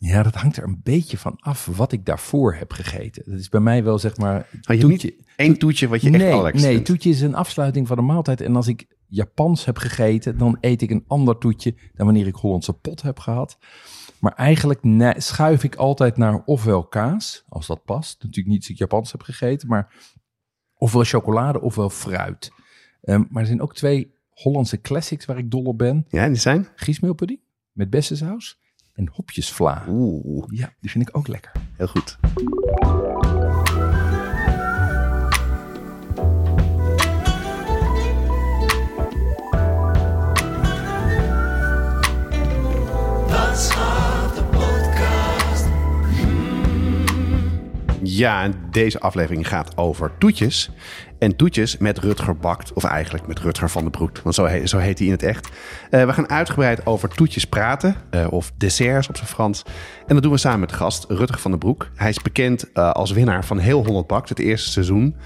Ja, dat hangt er een beetje van af wat ik daarvoor heb gegeten. Dat is bij mij wel zeg maar Oh, je hebt niet één toetje wat je echt nee, allerlekkerst nee, vindt. toetje is een afsluiting van de maaltijd. En als ik Japans heb gegeten, dan eet ik een ander toetje dan wanneer ik Hollandse pot heb gehad. Maar eigenlijk ne- schuif ik altijd naar ofwel kaas, als dat past. Natuurlijk niet als ik Japans heb gegeten, maar ofwel chocolade ofwel fruit. Ehm, maar er zijn ook twee Hollandse classics waar ik dol op ben. Ja, die zijn? Giesmeelpudding met bessensaus en hopjesvla. Oeh, Ja, die vind ik ook lekker. heel goed. Ja, en deze aflevering gaat over toetjes. En toetjes met Rutger Bakt, of eigenlijk met Rutger van den Broek, want zo heet, zo heet hij in het echt. Eh, we gaan uitgebreid over toetjes praten, eh, of desserts op zijn Frans. En dat doen we samen met gast Rutger van den Broek. Hij is bekend eh, als winnaar van Heel Holland Bakt, het eerste seizoen.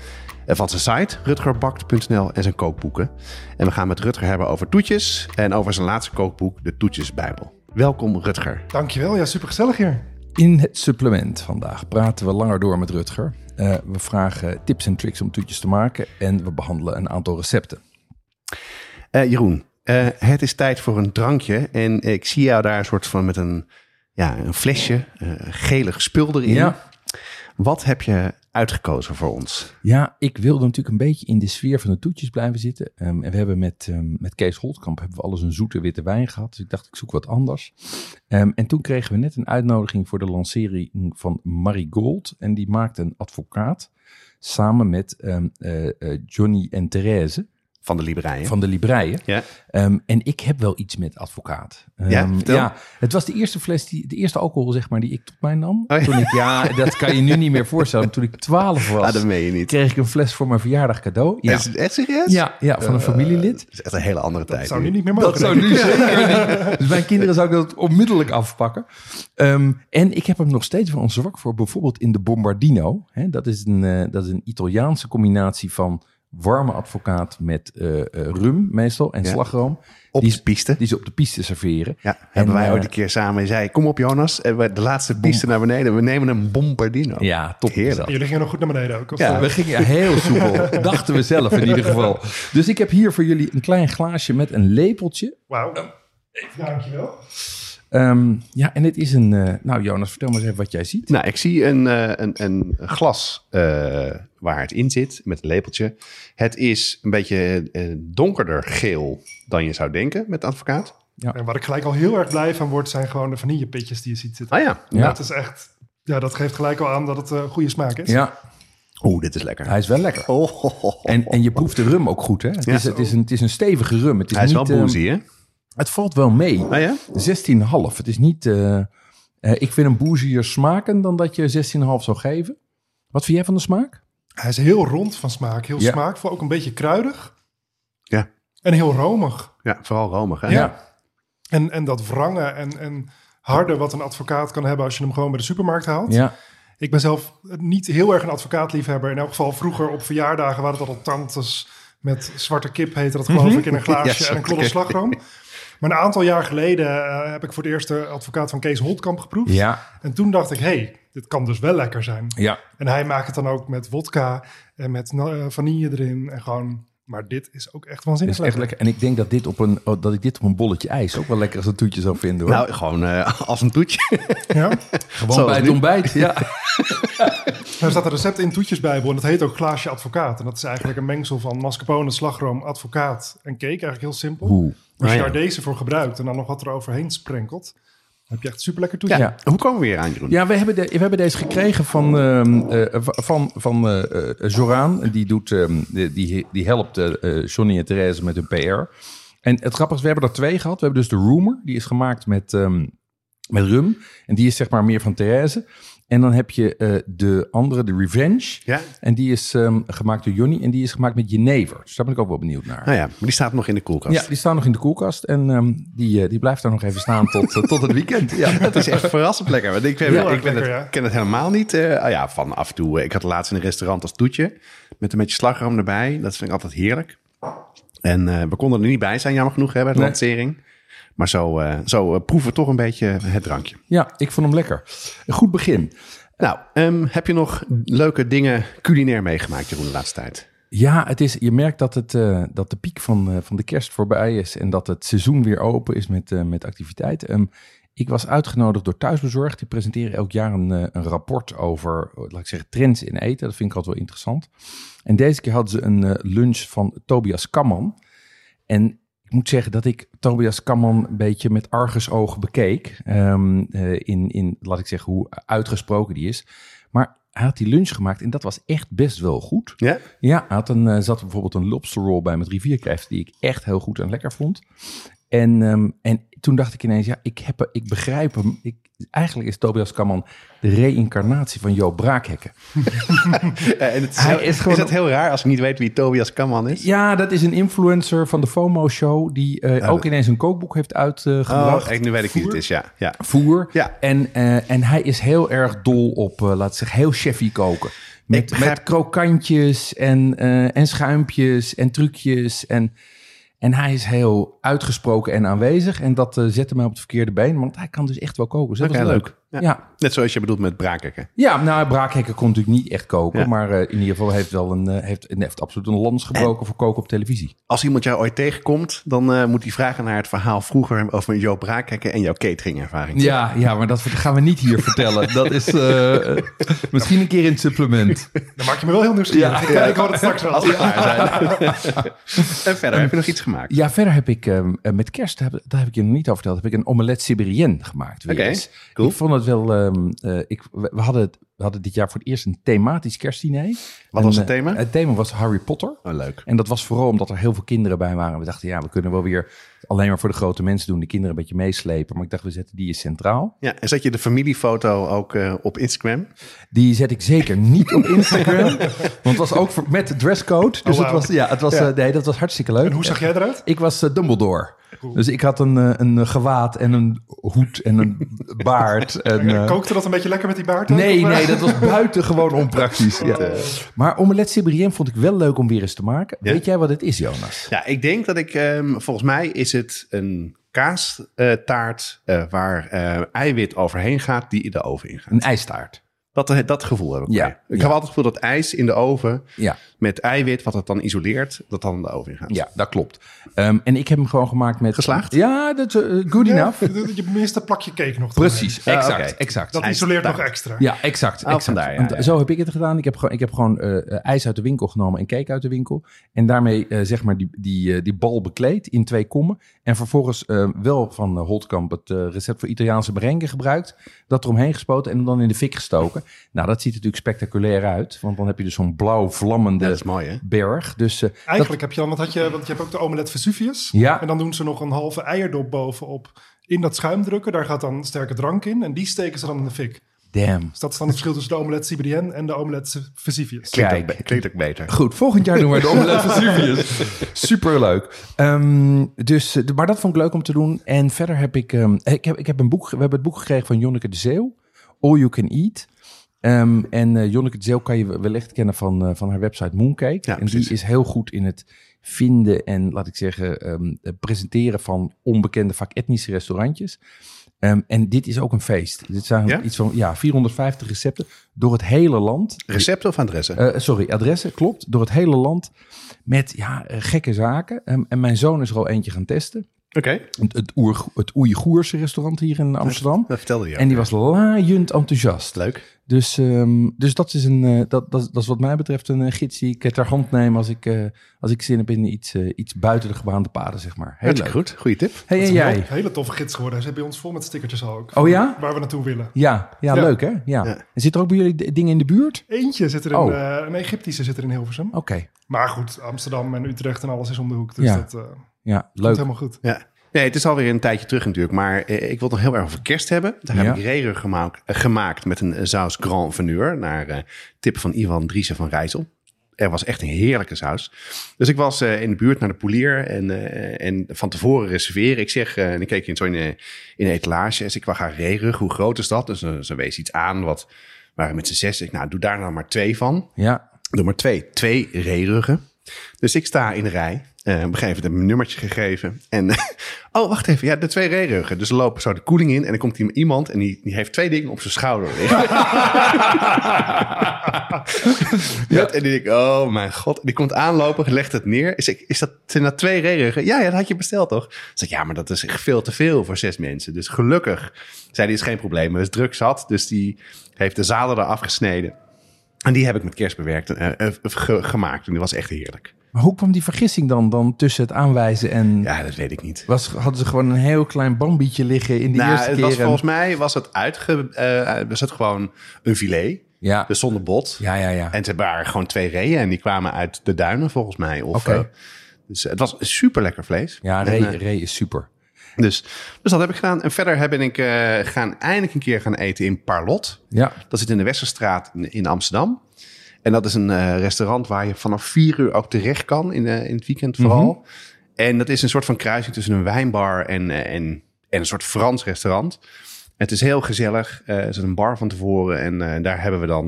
eh, Van zijn site rutgerbakt.nl en zijn kookboeken. En we gaan met Rutger hebben over toetjes en over zijn laatste kookboek, de Toetjesbijbel. Welkom Rutger. Dankjewel, ja, super gezellig hier. In het supplement vandaag praten we langer door met Rutger. Eh, we vragen tips en tricks om toetjes te maken en we behandelen een aantal recepten. Eh, Jeroen, eh, het is tijd voor een drankje. En ik zie jou daar een soort van met een, ja, een flesje eh, gelig spul erin. Ja. Wat heb je uitgekozen voor ons? Ja, ik wilde natuurlijk een beetje in de sfeer van de toetjes blijven zitten. Ehm, en we hebben met, ehm, met Kees Holtkamp hebben we alles een zoete witte wijn gehad. Dus ik dacht, ik zoek wat anders. Ehm, en toen kregen we net een uitnodiging voor de lancering van Marigold. En die maakt een advocaat samen met ehm, eh, eh, Johnny en Therese Van de Liberijen. van de Libreien. Ja. Ehm, en ik heb wel iets met advocaat. Ehm, Ja, vertel. het was de eerste fles, die, de eerste alcohol zeg maar, die ik tot mij nam. Oh ja. Toen ik, ja, dat kan je nu niet meer voorstellen. Toen ik 12 was, Ah, dat meen je niet. kreeg ik een fles voor mijn verjaardag cadeau. Ja, Is het Eh, echt serieus? ja, ja van een familielid. Dat is echt een hele andere tijd. Dat zou nu niet meer mogen. Dat zou denk nu zeker niet. Dus mijn kinderen zou ik dat onmiddellijk afpakken. Ehm, en ik heb hem nog steeds wel een zwak voor. Bijvoorbeeld in de Bombardino. Hè, dat, is een, eh, dat is een Italiaanse combinatie van warme advocaat met eh, eh, rum meestal en Ja. slagroom. Op die, de piste. Die ze op de piste serveren. Ja, hebben En, wij eh, ooit een keer samen. Je zei, kom op Jonas, en we- de laatste piste naar beneden. We nemen een Bombardino. Ja, top. is Heerlijk. dat. Jullie gingen nog goed naar beneden ook. of, Ja, eh? We gingen heel soepel, dachten we zelf in ieder geval. Dus ik heb hier voor jullie een klein glaasje met een lepeltje. Wauw. Dankjewel. Ehm, ja, en het is een... eh, nou Jonas, vertel maar eens even wat jij ziet. Nou, ik zie een, eh, een, een glas eh, waar het in zit met een lepeltje. Het is een beetje eh, donkerder geel dan je zou denken met de advocaat. En waar ik gelijk al heel erg blij van word, zijn gewoon de vanillepitjes die je ziet zitten. Ah ja. Ja. Dat is echt... Ja, dat geeft gelijk al aan dat het eh, goede smaak is. Ja, Oeh, dit is lekker. hij is wel lekker. Oh, ho, ho, ho. En, en je proeft de rum ook goed, hè? Het, Ja. is, het, is, een, het is een stevige rum. Het is, hij is wel niet, ehm, boozy, hè? het valt wel mee. Ah ja? 16,5. Het is niet... eh, eh, ik vind een boezier smaken dan dat je 16,5 zou geven. Wat vind jij van de smaak? Hij is heel rond van smaak, heel Ja. smaakvol, ook een beetje kruidig. Ja. En heel romig. Ja, vooral romig, hè? En, en dat wrangen en, en harde wat een advocaat kan hebben als je hem gewoon bij de supermarkt haalt. ja. Ik ben zelf niet heel erg een advocaatliefhebber. In elk geval vroeger op verjaardagen waren het al tantes met zwarte kip heette dat geloof ik in een Ja, glaasje en zwarte een klodder kip. slagroom. Maar een aantal jaar geleden eh, heb ik voor het eerst de advocaat van Kees Holtkamp geproefd. Ja, En toen dacht ik, hé, hey, dit kan dus wel lekker zijn. ja. En hij maakt het dan ook met wodka en met eh, vanille erin en gewoon... Maar dit is ook echt Dat waanzinnig is echt lekker. En ik denk dat, dit op een, oh, dat ik dit op een bolletje ijs ook wel lekker als een toetje zou vinden. Hoor. Nou, gewoon eh, als een toetje. Ja? Gewoon zoals bij het nu. ontbijt. Ja. Daar staat een recept in Toetjesbijbel en dat heet ook glaasje advocaat. En dat is eigenlijk een mengsel van mascarpone, slagroom, advocaat en cake. Eigenlijk heel simpel. Oeh. Maar als je Ah, ja. daar deze voor gebruikt en dan nog wat er overheen sprenkelt, dan heb je echt super lekker Ja. toetje. Ja. Hoe komen we hier aan, Jeroen? Ja, we hebben, de- we hebben deze gekregen van, ehm, eh, van, van eh, eh, Joraan. Die, doet, ehm, die, die, die helpt eh, eh, Johnny en Therese met hun PR. En het grappige is, we hebben er twee gehad. We hebben dus de Rumor. Die is gemaakt met ehm, Met rum. En die is zeg maar meer van Therese. En dan heb je eh, de andere, de Revenge. Ja. En die is ehm, gemaakt door Johnny. En die is gemaakt met Jenever. Dus daar ben ik ook wel benieuwd naar. Nou ja, maar die staat nog in de koelkast. Ja, die staan nog in de koelkast. En ehm, die, eh, die blijft daar nog even staan tot, eh, tot het weekend. Ja. Het is echt verrassend lekker. Want ik ben, Ja, ik ben lekker, het, ja. ken het helemaal niet. Eh, ah ja, van af en toe. eh, ik had laatst in een restaurant als toetje. Met een beetje slagroom erbij. Dat vind ik altijd heerlijk. En eh, we konden er niet bij zijn, jammer genoeg, hè, bij de Nee. lancering. Maar zo, eh, zo eh, proeven we toch een beetje het drankje. ja, ik vond hem lekker. Een goed begin. Nou, ehm, heb je nog leuke dingen culinair meegemaakt, Jeroen, de laatste tijd? Ja, het is, je merkt dat, het, eh, dat de piek van, eh, van de kerst voorbij is. En dat het seizoen weer open is met, eh, met activiteit. Ehm, ik was uitgenodigd door Thuisbezorgd. Die presenteren elk jaar een, eh, een rapport over, eh, laat ik zeggen, trends in eten. Dat vind ik altijd wel interessant. En deze keer hadden ze een eh, lunch van Tobias Kamman. En ik moet zeggen dat ik Tobias Kamman een beetje met argusogen bekeek. Ehm, eh, in, in, laat ik zeggen, hoe uitgesproken die is. Maar hij had die lunch gemaakt en dat was echt best wel goed. Ja? Ja, hij had een, eh, zat er bijvoorbeeld een lobster roll bij met rivierkrijft die ik echt heel goed en lekker vond. En, ehm, en toen dacht ik ineens, ja, ik, heb, hem- ik begrijp hem. Ik, eigenlijk is Tobias Kamman de reïncarnatie van Joop Braakhekken. Eh, en het is, Hij heel- is gewoon- is dat heel raar als ik niet weet wie Tobias Kamman is? Ja, dat is een influencer van de FOMO-show die eh, ook ineens een kookboek heeft uitgebracht. Oh, echt, nu weet ik wie het is, ja. ja. Voer. Ja. En, eh, en hij is heel erg dol op, eh laat ik zeggen, heel chefy koken. Met, Ik begrijp- met krokantjes en, eh, en schuimpjes en trucjes. En, en hij is heel uitgesproken en aanwezig. En dat eh, zette mij op het verkeerde been, want hij kan dus echt wel koken. Dus dat Oké, was leuk. leuk. Ja. Ja. Net zoals je bedoelt met braakhekken. nou, Braakhekker kon natuurlijk niet echt koken. Ja. Maar eh, in ieder geval heeft wel een, eh, heeft, heeft absoluut een lans gebroken voor koken op televisie. Als iemand jou ooit tegenkomt, dan eh, moet hij vragen naar het verhaal vroeger over Joop Braakhekken en jouw cateringervaring. Ja, ja, maar dat gaan we niet hier vertellen. Dat is eh, misschien een keer in het supplement. Dan maak je me wel heel nieuwsgierig. Ik, ik hoor het straks wel. we klaar zijn. en verder, heb je nog iets gemaakt? Ja, verder heb ik ehm, eh, met kerst, heb- daar heb ik je nog niet over verteld, heb ik een omelet Siberienne gemaakt. weer Oké, eens. cool. Ik vond het wel, ehm, eh, ik, we, we hadden, het- we hadden dit jaar voor het eerst een thematisch kerstdiner. En, was het eh, thema? het thema was Harry Potter. Oh, leuk. En dat was vooral omdat er heel veel kinderen bij waren. We dachten, ja, we kunnen wel weer alleen maar voor de grote mensen doen, de kinderen een beetje meeslepen. Maar ik dacht, we zetten die eens centraal. Ja, en zet je de familiefoto ook eh, op Instagram? Die zet ik zeker niet op Instagram, want het was ook voor, met de dresscode. Dus Oh, wauw. het was, ja, het was, eh, nee, dat was hartstikke leuk. En hoe zag jij eruit? Ik was eh, Dumbledore. Dus ik had een, eh, een eh, gewaad en een hoed en een baard. En, eh, Kookte dat een beetje lekker met die baard? ook? nee, Of, eh, nee, dat was buitengewoon onpraktisch. Ja. Maar omelet Sibirien vond ik wel leuk om weer eens te maken. Ja. Weet jij wat het is, Jonas? Ja, ik denk dat ik, ehm, volgens mij is het een kaastaart waar eh, eiwit overheen gaat die in de oven ingaat. Een ijstaart. Dat, eh, dat gevoel heb ik. Ja, bij. Ik ja. heb altijd het gevoel dat ijs in de oven Ja, met eiwit, wat het dan isoleert, dat dan in de oven ingaat. ja dat klopt. Ehm, en ik heb hem gewoon gemaakt met... Geslaagd? Ja, dat, eh, good Ja, enough. je- je mist een plakje cake nog. eromheen. Precies, Ah, exact, oké. exact. Dat Hij isoleert nog staat. extra. Ja, exact. exact. vandaar, ja, Want ja. Zo heb ik het gedaan. Ik heb gewoon, ik heb gewoon eh, eh, ijs uit de winkel genomen en cake uit de winkel. En daarmee eh, zeg maar die, die, eh, die bal bekleed in twee kommen. En vervolgens eh, wel van eh, Holtkamp het eh, recept voor Italiaanse merengue gebruikt. Dat eromheen gespoten en dan in de fik gestoken. Nou, dat ziet er natuurlijk spectaculair uit. Want dan heb je dus zo'n blauw vlammende Ja, dat is mooi, hè? berg. Dus eh, Eigenlijk heb je dan, want, had je, want je hebt ook de omelet Vesuvius. Ja. En dan doen ze nog een halve eierdop bovenop. In dat schuim drukken, daar gaat dan sterke drank in. En die steken ze dan in de fik. dat, damn. Dus dat is dan het verschil tussen de omelet Siberienne en de omelet Vesuvius. Klinkt, Kijk. ook, be- klinkt ook beter. Goed, volgend jaar doen we de Omelet Vesuvius. Superleuk. Ehm, dus, eh, maar dat vond ik leuk om te doen. En verder heb ik... ehm, ik, heb, ik heb een boek... ge- We hebben het boek gekregen van Jonneke de Zeeuw. All You Can Eat. Ehm, en eh, Jonneke de Zeeuw kan je wellicht kennen van, eh, van haar website Mooncake. en precies. die is heel goed in het vinden en, laat ik zeggen, ehm, het presenteren van onbekende vaak-etnische restaurantjes. Ehm, en dit is ook een feest. Dit zijn Ja? iets van ja, 450 recepten door het hele land. Recepten of adressen? Eh, sorry, adressen, klopt. Door het hele land met ja, eh, gekke zaken. Ehm, en mijn zoon is er al eentje gaan testen. Oké. Het, het, Oer, het Oeigoerse restaurant hier in Amsterdam. Dat vertelde je. En die was laaiend enthousiast. leuk. Dus, ehm, dus dat, is een, eh, dat, dat, dat is wat mij betreft een eh, gids die ik eh, ter hand neem als ik, eh, als ik zin heb in iets, eh, iets buiten de gebaande paden, zeg maar. Heel Hartstikke leuk. goed. Goeie tip. Hey, Dat en is een jij? heel- hele toffe gids geworden. Ze hebben ons vol met stickertjes al ook. Oh ja? Waar we naartoe willen. Ja, ja, Ja. leuk hè? Ja. Ja. En zit er ook bij jullie d- dingen in de buurt? Eentje zit er in, Oh. eh, een Egyptische zit er in Hilversum. Oké, Maar goed, Amsterdam en Utrecht en alles is om de hoek. Dus Ja. dat eh, komt ja, leuk. helemaal goed. Ja. Nee, het is alweer een tijdje terug natuurlijk. Maar eh, ik wil het nog heel erg over kerst hebben. Daar Ja. heb ik regen gemaakt, eh, gemaakt met een eh, saus Grand Veneur. Naar eh, tip van Ivan Driessen van Rijssel. Er was echt een heerlijke saus. Dus ik was eh, in de buurt naar de polier en, eh, en van tevoren reserveren. Ik zeg, eh, en ik keek in zo'n eh, in een etalage. En ik kwam haar regenrug, hoe groot is dat? Dus eh, ze wees iets aan, wat waren met z'n zes. Ik nou, doe daar nou maar twee van. Ja, Nummer twee, twee reeruggen. Dus ik sta in de rij. Eh, op een gegeven moment heb ik een nummertje gegeven. En, oh, wacht even. Ja, de twee reeruggen. Dus er lopen zo de koeling in. En dan komt ie- iemand en die, die heeft twee dingen op zijn schouder liggen. Ja. En die denk ik, oh mijn god. En Die komt aanlopen, legt het neer. Is, is dat, zijn dat twee reeruggen? Ja, ja, dat had je besteld toch? Ik zeg, ja, maar dat is echt veel te veel voor zes mensen. Dus gelukkig, zei die, is geen probleem. Er is druk zat, dus die heeft de zaden eraf gesneden. En die heb ik met kerst bewerkt en eh, eh, ge- gemaakt. En die was echt heerlijk. maar hoe kwam die vergissing dan, dan tussen het aanwijzen en... Ja, dat weet ik niet. Was, hadden ze gewoon een heel klein bambietje liggen in de nou, eerste het keer? ehm, was, en- volgens mij was het, uitge, eh, was het gewoon een filet. ja. Dus zonder bot. ja, ja, ja. En ze waren gewoon twee reeën en die kwamen uit de duinen volgens mij. Of, Oké. eh, dus het was super lekker vlees. Ja, En, ree, eh, ree is super. dus, dus dat heb ik gedaan. En verder heb ik eh, gaan eindelijk een keer gaan eten in Parlot. Ja, Dat zit in de Westerstraat in, in Amsterdam. En dat is een eh, restaurant waar je vanaf vier uur ook terecht kan, in, eh, in het weekend vooral. En dat is een soort van kruising tussen een wijnbar en, eh, en, en een soort Frans restaurant. Het is heel gezellig. Eh, er zit een bar van tevoren. En eh, daar hebben we dan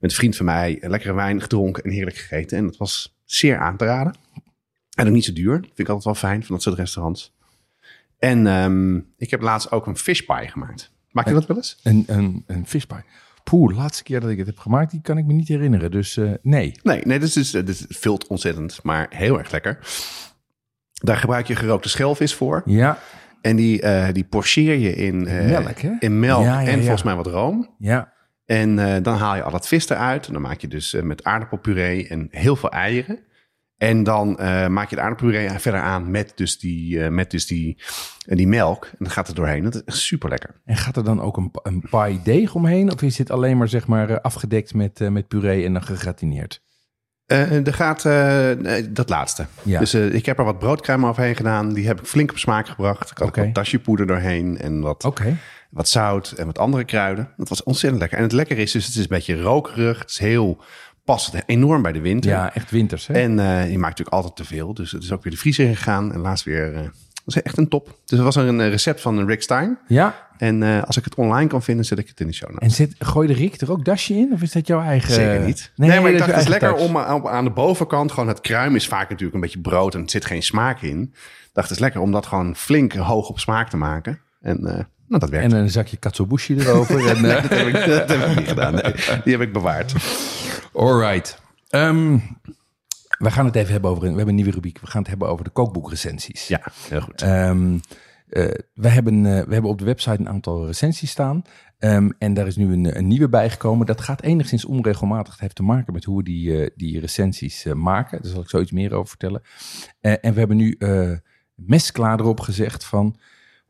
met een vriend van mij een lekkere wijn gedronken en heerlijk gegeten. En dat was zeer aan te raden. En ook niet zo duur. Vind ik altijd wel fijn van dat soort restaurants. En ehm, ik heb laatst ook een fish pie gemaakt. Maak je dat wel eens? een, een, een vispie. Poeh, laatste keer dat ik het heb gemaakt, die kan ik me niet herinneren. Dus eh, nee. Nee, nee dit, is, dus, eh, dit vult ontzettend, maar heel erg lekker. Daar gebruik je gerookte schelvis voor. Ja, En die, eh, die pocheer je in, eh, Melk, hè? in melk Ja, ja, en ja. volgens mij wat room. ja. En eh, dan haal je al dat vis eruit. En dan maak je dus eh, met aardappelpuree en heel veel eieren. En dan eh, maak je de aardappelpuree verder aan met dus die, eh, met dus die, en die melk. En dan gaat het doorheen. Dat is echt super lekker. En gaat er dan ook een, een pie deeg omheen? Of is dit alleen maar, zeg maar eh, afgedekt met, eh, met puree en dan gegratineerd? Eh, er gaat eh, eh, dat laatste. Ja. Dus eh, ik heb er wat broodcrème overheen gedaan. Die heb ik flink op smaak gebracht. Ik had Oké. Oh. ook wat dasjepoeder doorheen en wat, Oké. wat zout en wat andere kruiden. Dat was ontzettend lekker. En het lekker is dus, het is een beetje rokerig. Het is heel, past enorm bij de winter. Ja, echt winters, hè? En eh, je maakt natuurlijk altijd te veel. Dus het is ook weer de vriezer gegaan. En laatst weer, eh was echt een top. Dus er was een eh, recept van Rick Stein. Ja. En eh, als ik het online kan vinden, zet ik het in de show notes. En zit, gooide Rick er ook dasje in? Of is dat jouw eigen... Zeker niet. Eh, Nee, maar ik dat dacht, het is jouw eigen lekker touch. om om- eh, aan de bovenkant gewoon het kruim is vaak natuurlijk een beetje brood en het zit geen smaak in. Ik dacht, het is lekker om dat gewoon flink hoog op smaak te maken. En eh, nou, dat werkt. En een zakje katsuobushi erover. en, eh, dat, heb ik, dat heb ik niet gedaan. Nee, die heb ik bewaard. Alright. Ehm, we gaan het even hebben over... een- We hebben een nieuwe rubriek. We gaan het hebben over de kookboekrecensies. Ja, heel goed. Ehm, eh, we, hebben, eh, we hebben op de website een aantal recensies staan. Ehm, en daar is nu een, een nieuwe bijgekomen. Dat gaat enigszins onregelmatig. Het heeft te maken met hoe we die, eh, die recensies eh, maken. Daar zal ik zoiets meer over vertellen. Eh, en we hebben nu eh mesklaar erop gezegd van...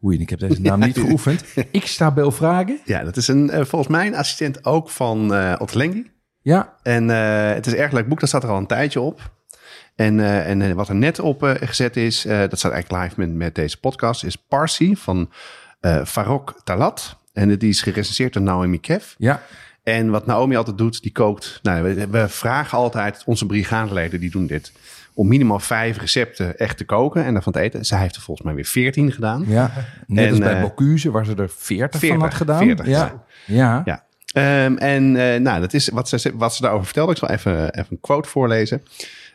Oei, ik heb deze naam niet geoefend. Ik sta Belvrage. Ja, dat is een, eh, volgens mij een assistent ook van eh Otlengi. Ja, En eh, het is een erg leuk boek, dat staat er al een tijdje op. En, eh, en eh, wat er net op eh, gezet is, eh, dat staat eigenlijk live met, met deze podcast, is Parsi van eh Farok Talat. En die is gerecenseerd door Naomi Kev. ja. En wat Naomi altijd doet, die kookt. Nou, we, we vragen altijd onze brigadeleden, die doen dit. Om minimaal vijf recepten echt te koken en daarvan te eten. Zij heeft er volgens mij weer veertien gedaan. ja. Net En, als bij eh, Bocuse, waar ze er 40, van 40, had gedaan. 40, ja. Ja. Ja. Ehm, en eh, nou, dat is wat ze, wat ze daarover vertelde. Ik zal even, even een quote voorlezen.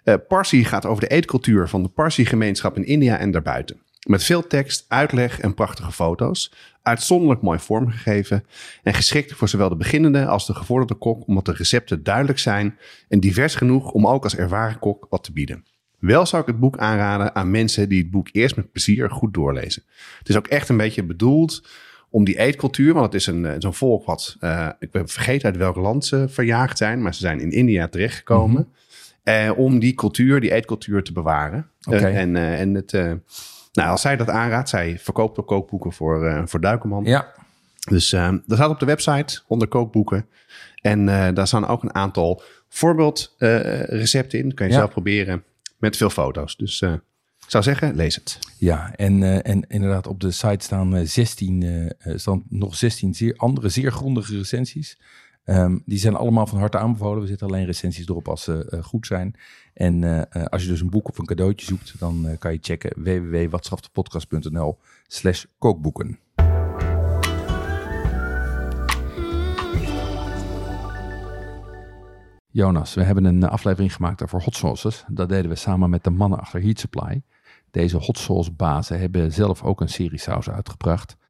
Eh, Parsi gaat over de eetcultuur van de Parsi-gemeenschap in India en daarbuiten. Met veel tekst, uitleg en prachtige foto's. Uitzonderlijk mooi vormgegeven. En geschikt voor zowel de beginnende als de gevorderde kok, omdat de recepten duidelijk zijn en divers genoeg om ook als ervaren kok wat te bieden. Wel zou ik het boek aanraden aan mensen die het boek eerst met plezier goed doorlezen. Het is ook echt een beetje bedoeld om die eetcultuur, want het is een, eh, zo'n volk wat, eh, ik ben vergeten uit welk land ze verjaagd zijn, maar ze zijn in India terechtgekomen. Eh, om die cultuur, die eetcultuur te bewaren. Eh, Oké. en, eh, en het, eh, nou, als zij dat aanraadt, zij verkoopt ook kookboeken voor, eh, voor Duikerman. ja. Dus eh, dat staat op de website onder kookboeken. En eh, daar staan ook een aantal voorbeeldrecepten in. Kun je Ja. zelf proberen met veel foto's. Dus eh, Ik zou zeggen, lees het. Ja, en, eh, en inderdaad, op de site staan, eh, 16, eh, eh, staan nog 16 zeer, andere zeer grondige recensies. Ehm, die zijn allemaal van harte aanbevolen. We zetten alleen recensies erop als ze eh, goed zijn. En eh, eh, als je dus een boek of een cadeautje zoekt, dan eh, kan je checken www.watschaptepodcast.nl slash kookboeken. Jonas, we hebben een eh, aflevering gemaakt over hot sauces. Dat deden we samen met de mannen achter Heat Supply. Deze hot sauce bazen hebben zelf ook een serie saus uitgebracht.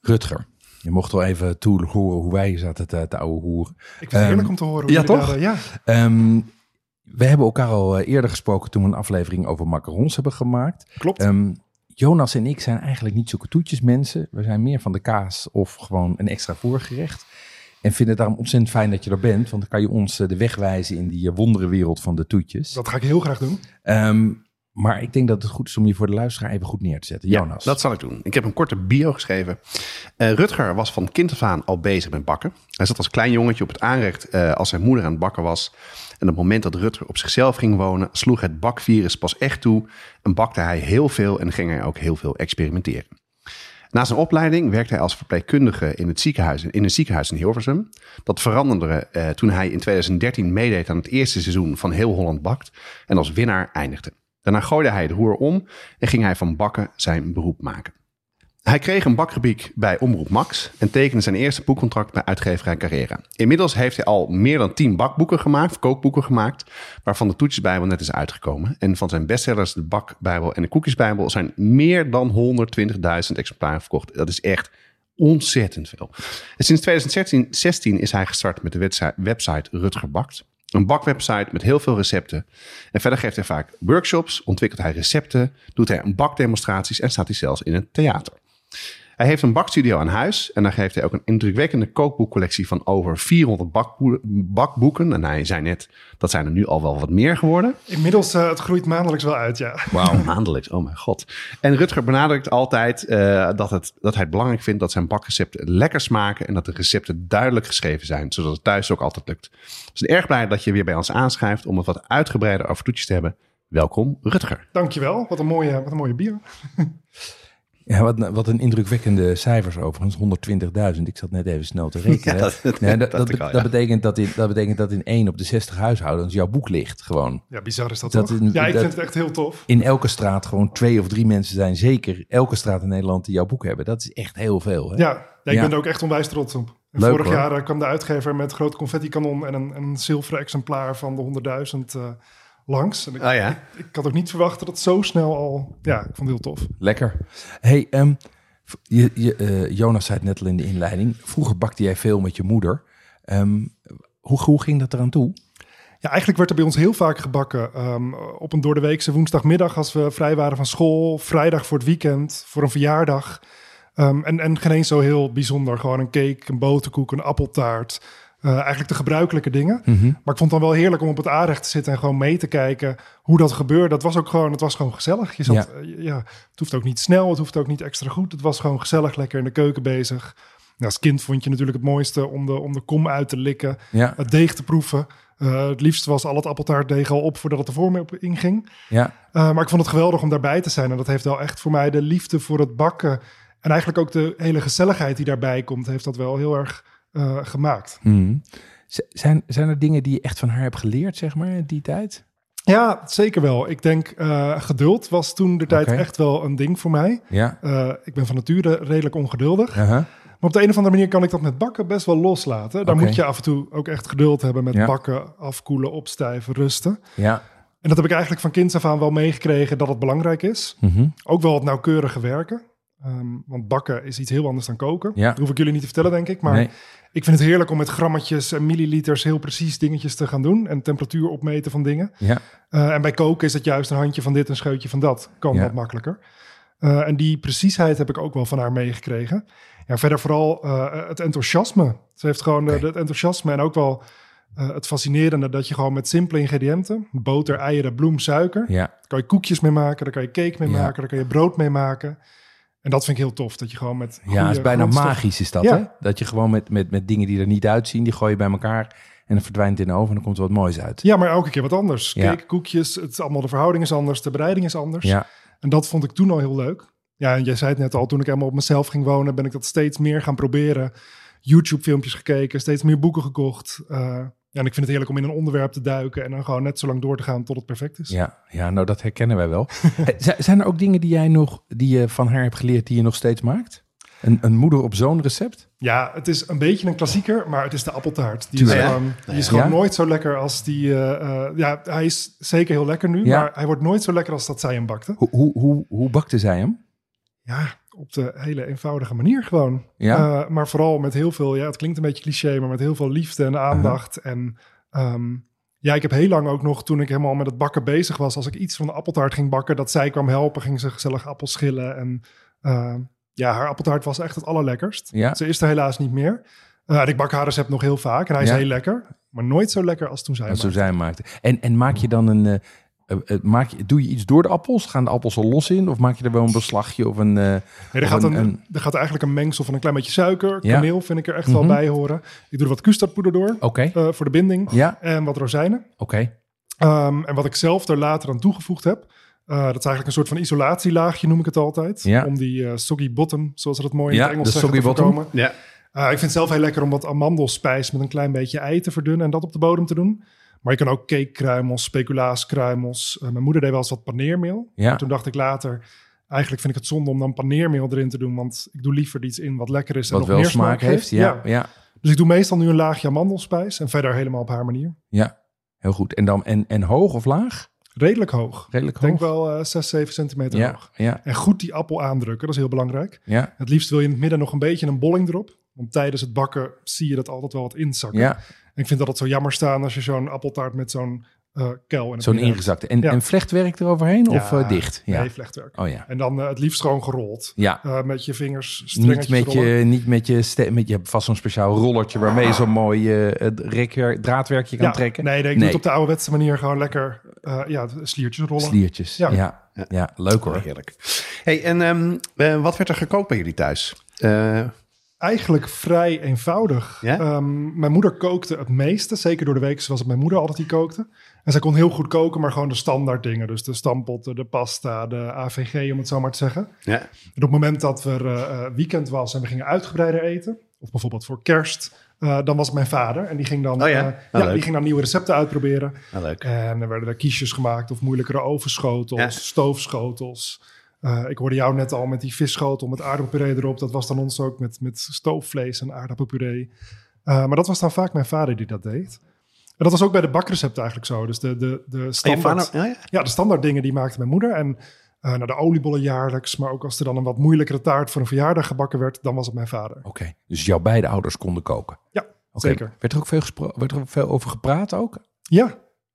Rutger, je mocht wel even toe horen hoe wij zaten te, te ouwe hoeren. Ik vind het Ehm, heerlijk om te horen. hoe ja, jullie toch? daar, eh, ja. Ehm, we hebben elkaar al eh, eerder gesproken toen we een aflevering over macarons hebben gemaakt. Klopt. Ehm, Jonas en ik zijn eigenlijk niet zulke toetjesmensen. We zijn meer van de kaas of gewoon een extra voorgerecht. En vinden het daarom ontzettend fijn dat je er bent. Want dan kan je ons eh, de weg wijzen in die eh, wondere wereld van de toetjes. Dat ga ik heel graag doen. Ehm, maar ik denk dat het goed is om je voor de luisteraar even goed neer te zetten. Jonas. Ja, dat zal ik doen. Ik heb een korte bio geschreven. Eh, Rutger was van kind af aan al bezig met bakken. Hij zat als klein jongetje op het aanrecht eh, als zijn moeder aan het bakken was. En op het moment dat Rutger op zichzelf ging wonen, sloeg het bakvirus pas echt toe. En bakte hij heel veel en ging hij ook heel veel experimenteren. Na zijn opleiding werkte hij als verpleegkundige in, het ziekenhuis, in een ziekenhuis in Hilversum. Dat veranderde eh, toen hij in 2013 meedeed aan het eerste seizoen van Heel Holland Bakt en als winnaar eindigde. Daarna gooide hij het roer om en ging hij van bakken zijn beroep maken. Hij kreeg een bakgebied bij Omroep Max en tekende zijn eerste boekcontract bij uitgeverij Carrera. Inmiddels heeft hij al meer dan 10 bakboeken gemaakt, of kookboeken gemaakt, waarvan de Toetjesbijbel net is uitgekomen. En van zijn bestsellers de Bakbijbel en de Koekjesbijbel zijn meer dan 120.000 exemplaren verkocht. Dat is echt ontzettend veel. En sinds 2016 is hij gestart met de wetsi- website Rutger Bakt. Een bakwebsite met heel veel recepten. En verder geeft hij vaak workshops, ontwikkelt hij recepten, doet hij bakdemonstraties en staat hij zelfs in een theater. Hij heeft een bakstudio aan huis en daar geeft hij ook een indrukwekkende kookboekcollectie van over 400 bakboe- bakboeken. En hij zei net, dat zijn er nu al wel wat meer geworden. Inmiddels, eh, het groeit maandelijks wel uit, ja. Wauw. Maandelijks, oh mijn god. En Rutger benadrukt altijd eh, dat, het, dat hij het belangrijk vindt dat zijn bakrecepten lekker smaken en dat de recepten duidelijk geschreven zijn, zodat het thuis ook altijd lukt. We zijn erg blij dat je weer bij ons aanschrijft om het wat uitgebreider over toetjes te hebben. Welkom, Rutger. Dankjewel. Wat een mooie, wat een mooie bier. Ja, wat, wat een indrukwekkende cijfers overigens, 120.000. Ik zat net even snel te rekenen. Ja, dat- dat- Nee, dat, dat dat, ik al, ja. dat betekent dat in, dat betekent dat in één op de 60 huishoudens jouw boek ligt gewoon. Ja, bizar is dat, Dat toch? is- ja, ik dat- vind het echt heel tof. In elke straat gewoon twee of drie mensen zijn zeker elke straat in Nederland die jouw boek hebben. Dat is echt heel veel. Hè? Ja, ja, ik Ja. ben er ook echt onwijs trots op. En Leuk, vorig hoor. jaar eh, kwam de uitgever met groot confetti-kanon en een, een zilveren exemplaar van de 100.000 eh, langs. En ik, Ah ja. ik had ook niet verwacht dat het zo snel al... Ja, ik vond het heel tof. Lekker. Hey, ehm, v- je, je, eh, Jonas zei het net al in de inleiding. Vroeger bakte jij veel met je moeder. Ehm, hoe, hoe ging dat eraan toe? Ja, eigenlijk werd er bij ons heel vaak gebakken. Ehm, op een door de weekse woensdagmiddag als we vrij waren van school. Vrijdag voor het weekend, voor een verjaardag. Ehm, en, en geen eens zo heel bijzonder. Gewoon een cake, een boterkoek, een appeltaart. Eh, eigenlijk de gebruikelijke dingen. Maar ik vond het dan wel heerlijk om op het aanrecht te zitten en gewoon mee te kijken hoe dat gebeurde. Dat was ook gewoon, het was gewoon gezellig. Je zat, Ja. eh, ja. het hoeft ook niet snel, het hoeft ook niet extra goed. Het was gewoon gezellig, lekker in de keuken bezig. Nou, als kind vond je natuurlijk het mooiste om de, om de kom uit te likken Ja, het deeg te proeven. Eh, het liefst was al het appeltaartdeeg al op voordat het de vorm op inging. ja, Eh, maar ik vond het geweldig om daarbij te zijn. En dat heeft wel echt voor mij de liefde voor het bakken... en eigenlijk ook de hele gezelligheid die daarbij komt... heeft dat wel heel erg eh, gemaakt. Mhm. Z- Zijn, zijn er dingen die je echt van haar hebt geleerd, zeg maar, in die tijd? Ja, zeker wel. Ik denk eh, geduld was toen de tijd Oké. echt wel een ding voor mij. Ja. Uh-huh. Eh, ik ben van nature redelijk ongeduldig. aha. Maar op de een of andere manier kan ik dat met bakken best wel loslaten. Daar Oké. moet je af en toe ook echt geduld hebben met Ja. bakken, afkoelen, opstijven, rusten. Ja. En dat heb ik eigenlijk van kinds af aan wel meegekregen dat het belangrijk is. Mhm. Ook wel het nauwkeurige werken. Eh, Ehm, want bakken is iets heel anders dan koken. Ja. Dat hoef ik jullie niet te vertellen, denk ik. Maar nee. ik vind het heerlijk om met grammetjes en milliliters heel precies dingetjes te gaan doen. En temperatuur opmeten van dingen. Ja. Eh, en bij koken is het juist een handje van dit, een scheutje van dat. Kan Ja. wat makkelijker. Eh, en die preciesheid heb ik ook wel van haar meegekregen. Ja, verder vooral eh, het enthousiasme. Ze heeft gewoon eh, Oké. het enthousiasme en ook wel eh, het fascinerende dat je gewoon met simpele ingrediënten, boter, eieren, bloem, suiker, Ja. daar kan je koekjes mee maken, daar kan je cake mee Ja. maken, daar kan je brood mee maken. En dat vind ik heel tof, dat je gewoon met ja, het is bijna maag. magisch is dat, Ja. hè? Dat je gewoon met, met, met dingen die er niet uitzien, die gooi je bij elkaar... en dan verdwijnt het in de oven en dan komt er wat moois uit. Ja, maar elke keer wat anders. Ja. Cake, koekjes, het is allemaal de verhouding is anders, de bereiding is anders. Ja, En dat vond ik toen al heel leuk. Ja, en jij zei het net al, toen ik helemaal op mezelf ging wonen, ben ik dat steeds meer gaan proberen. YouTube-filmpjes gekeken, steeds meer boeken gekocht. Eh, ja, en ik vind het heerlijk om in een onderwerp te duiken en dan gewoon net zo lang door te gaan tot het perfect is. ja, ja, nou dat herkennen wij wel. Eh, zi- Zijn er ook dingen die jij nog, die je van haar hebt geleerd, die je nog steeds maakt? Een, een moeder op zo'n recept? Ja, het is een beetje een klassieker, maar het is de appeltaart. Die Tuurlijk. is gewoon, die is Ja. gewoon Ja? nooit zo lekker als die... eh, eh, ja, hij is zeker heel lekker nu, Ja. maar hij wordt nooit zo lekker als dat zij hem bakte. Hoe, hoe, hoe, hoe bakte zij hem? Ja, op de hele eenvoudige manier gewoon. Ja, Eh, maar vooral met heel veel, ja, het klinkt een beetje cliché, maar met heel veel liefde en aandacht. En ehm, ja, ik heb heel lang ook nog, toen ik helemaal met het bakken bezig was, als ik iets van de appeltaart ging bakken, dat zij kwam helpen, ging ze gezellig appels schillen. En ehm, ja, haar appeltaart was echt het allerlekkerst. ja. Ze is er helaas niet meer. Eh, en ik bak haar recept nog heel vaak en hij Ja. is heel lekker, maar nooit zo lekker als toen zij Dat dus hem zo zij hem maakte. En, en maak je dan een. eh, eh, eh, maak je, doe je iets door de appels? Gaan de appels al los in? Of maak je er wel een beslagje of een. eh, Nee, er, Of gaat een- een, een- er gaat eigenlijk een mengsel van een klein beetje suiker. Ja. Kaneel vind ik er echt Mhm. wel bij horen. Ik doe er wat custardpoeder door Oké. eh, voor de binding. Ja, En wat rozijnen. oké. Ehm, en wat ik zelf er later aan toegevoegd heb, eh, dat is eigenlijk een soort van isolatielaagje, noem ik het altijd. Ja. Om die eh soggy bottom, zoals ze dat mooi in Ja, het Engels de zeggen, te soggy bottom. voorkomen. Ja. Eh, ik vind het zelf heel lekker om wat amandelspijs met een klein beetje ei te verdunnen en dat op de bodem te doen. Maar je kan ook cakekruimels, speculaaskruimels. Eh, mijn moeder deed wel eens wat paneermeel. Ja. En toen dacht ik later, eigenlijk vind ik het zonde om dan paneermeel erin te doen, want ik doe liever iets in wat lekker is en Wat nog wel meer smaak heeft. Ja, ja, Dus ik doe meestal nu een laagje amandelspijs en verder helemaal op haar manier. ja. Heel goed. En dan en, en hoog of laag? Redelijk hoog. Redelijk Ik hoog. denk wel eh, 6, 7 centimeter ja, hoog. ja, En goed die appel aandrukken, dat is heel belangrijk. ja, Het liefst wil je in het midden nog een beetje een bolling erop. Want tijdens het bakken zie je dat altijd wel wat inzakken. ja. En ik vind dat het zo jammer staan als je zo'n appeltaart met zo'n eh kel... in het Zo'n midden hebt. ingezakte. En, Ja. en vlechtwerk eroverheen of Ja, eh, dicht? Ja. Nee, vlechtwerk. Oh ja. En dan eh, het liefst gewoon gerold. Ja. Eh, met je vingers Niet strengetjes met je, rollen. Ah. niet met je, ste- met je hebt vast zo'n speciaal rollertje waarmee je zo'n mooi eh, het rekwerk- draadwerkje kan ja, trekken. Nee, nee, ik doe Nee. het op de ouderwetse manier gewoon lekker eh, ja, sliertjes rollen. Sliertjes. Ja. Ja. Ja. leuk hoor. Heerlijk. Hey, en ehm, eh, wat werd er gekookt bij jullie thuis? Eh, Eigenlijk vrij eenvoudig. Ja? Ehm, mijn moeder kookte het meeste. Zeker door de week was het mijn moeder altijd die kookte. En zij kon heel goed koken, maar gewoon de standaard dingen. Dus de stampotten, de pasta, de AVG, om het zo maar te zeggen. ja. En op het moment dat er eh, eh, weekend was en we gingen uitgebreider eten... of bijvoorbeeld voor kerst, eh, dan was het mijn vader. En die ging dan, Oh ja? eh, Ah, leuk. die ging dan nieuwe recepten uitproberen. Ah, leuk. En er werden er kiesjes gemaakt of moeilijkere ovenschotels, Ja. stoofschotels. Eh, ik hoorde jou net al met die visschotel met aardappelpuree erop. Dat was dan ons ook met, met stoofvlees en aardappelpuree. Eh, maar dat was dan vaak mijn vader die dat deed. En dat was ook bij de bakrecepten eigenlijk zo. Dus de, de, de En Oh, je vader? standaard... Ja, ja. Ja, de standaard dingen die maakte mijn moeder. En eh nou, de oliebollen jaarlijks. Maar ook als er dan een wat moeilijkere taart voor een verjaardag gebakken werd, dan was het mijn vader. Oké, dus jouw beide ouders konden koken. Ja, Oké, zeker. Werd er ook veel, gespro- werd er veel over gepraat ook? Ja,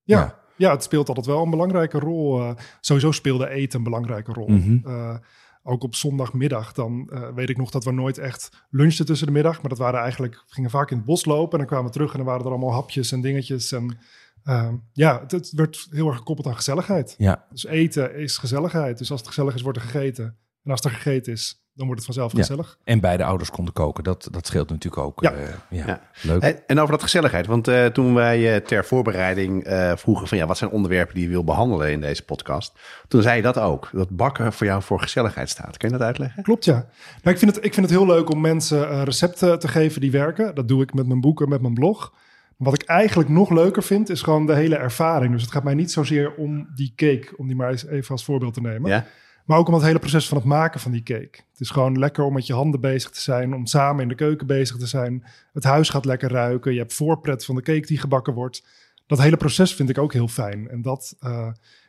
ja. Ja. ja. het speelt altijd wel een belangrijke rol. eh, sowieso speelde eten een belangrijke rol. Mhm. Eh, ook op zondagmiddag, dan eh, weet ik nog dat we nooit echt lunchten tussen de middag. Maar dat waren eigenlijk, we gingen vaak in het bos lopen en dan kwamen we terug en dan waren er allemaal hapjes en dingetjes. En eh, ja, het, het werd heel erg gekoppeld aan gezelligheid. Ja. Dus eten is gezelligheid. Dus als het gezellig is, wordt er gegeten. En als er gegeten is, dan wordt het vanzelf Ja. gezellig. En beide ouders konden koken. Dat, dat scheelt natuurlijk ook. Ja. eh, ja. Ja. Leuk. Hey, En over dat gezelligheid, want eh, toen wij eh, ter voorbereiding eh, vroegen van ja, wat zijn onderwerpen die je wil behandelen in deze podcast, toen zei je dat ook, dat bakken voor jou voor gezelligheid staat. Kun je dat uitleggen? Klopt, ja. Nou, ik, vind het, ik vind het heel leuk om mensen eh, recepten te geven die werken. Dat doe ik met mijn boeken, met mijn blog. Wat ik eigenlijk nog leuker vind, is gewoon de hele ervaring. Dus het gaat mij niet zozeer om die cake, om die maar eens even als voorbeeld te nemen. Ja, Maar ook om het hele proces van het maken van die cake. Het is gewoon lekker om met je handen bezig te zijn, om samen in de keuken bezig te zijn. Het huis gaat lekker ruiken, je hebt voorpret van de cake die gebakken wordt. Dat hele proces vind ik ook heel fijn. En dat, eh,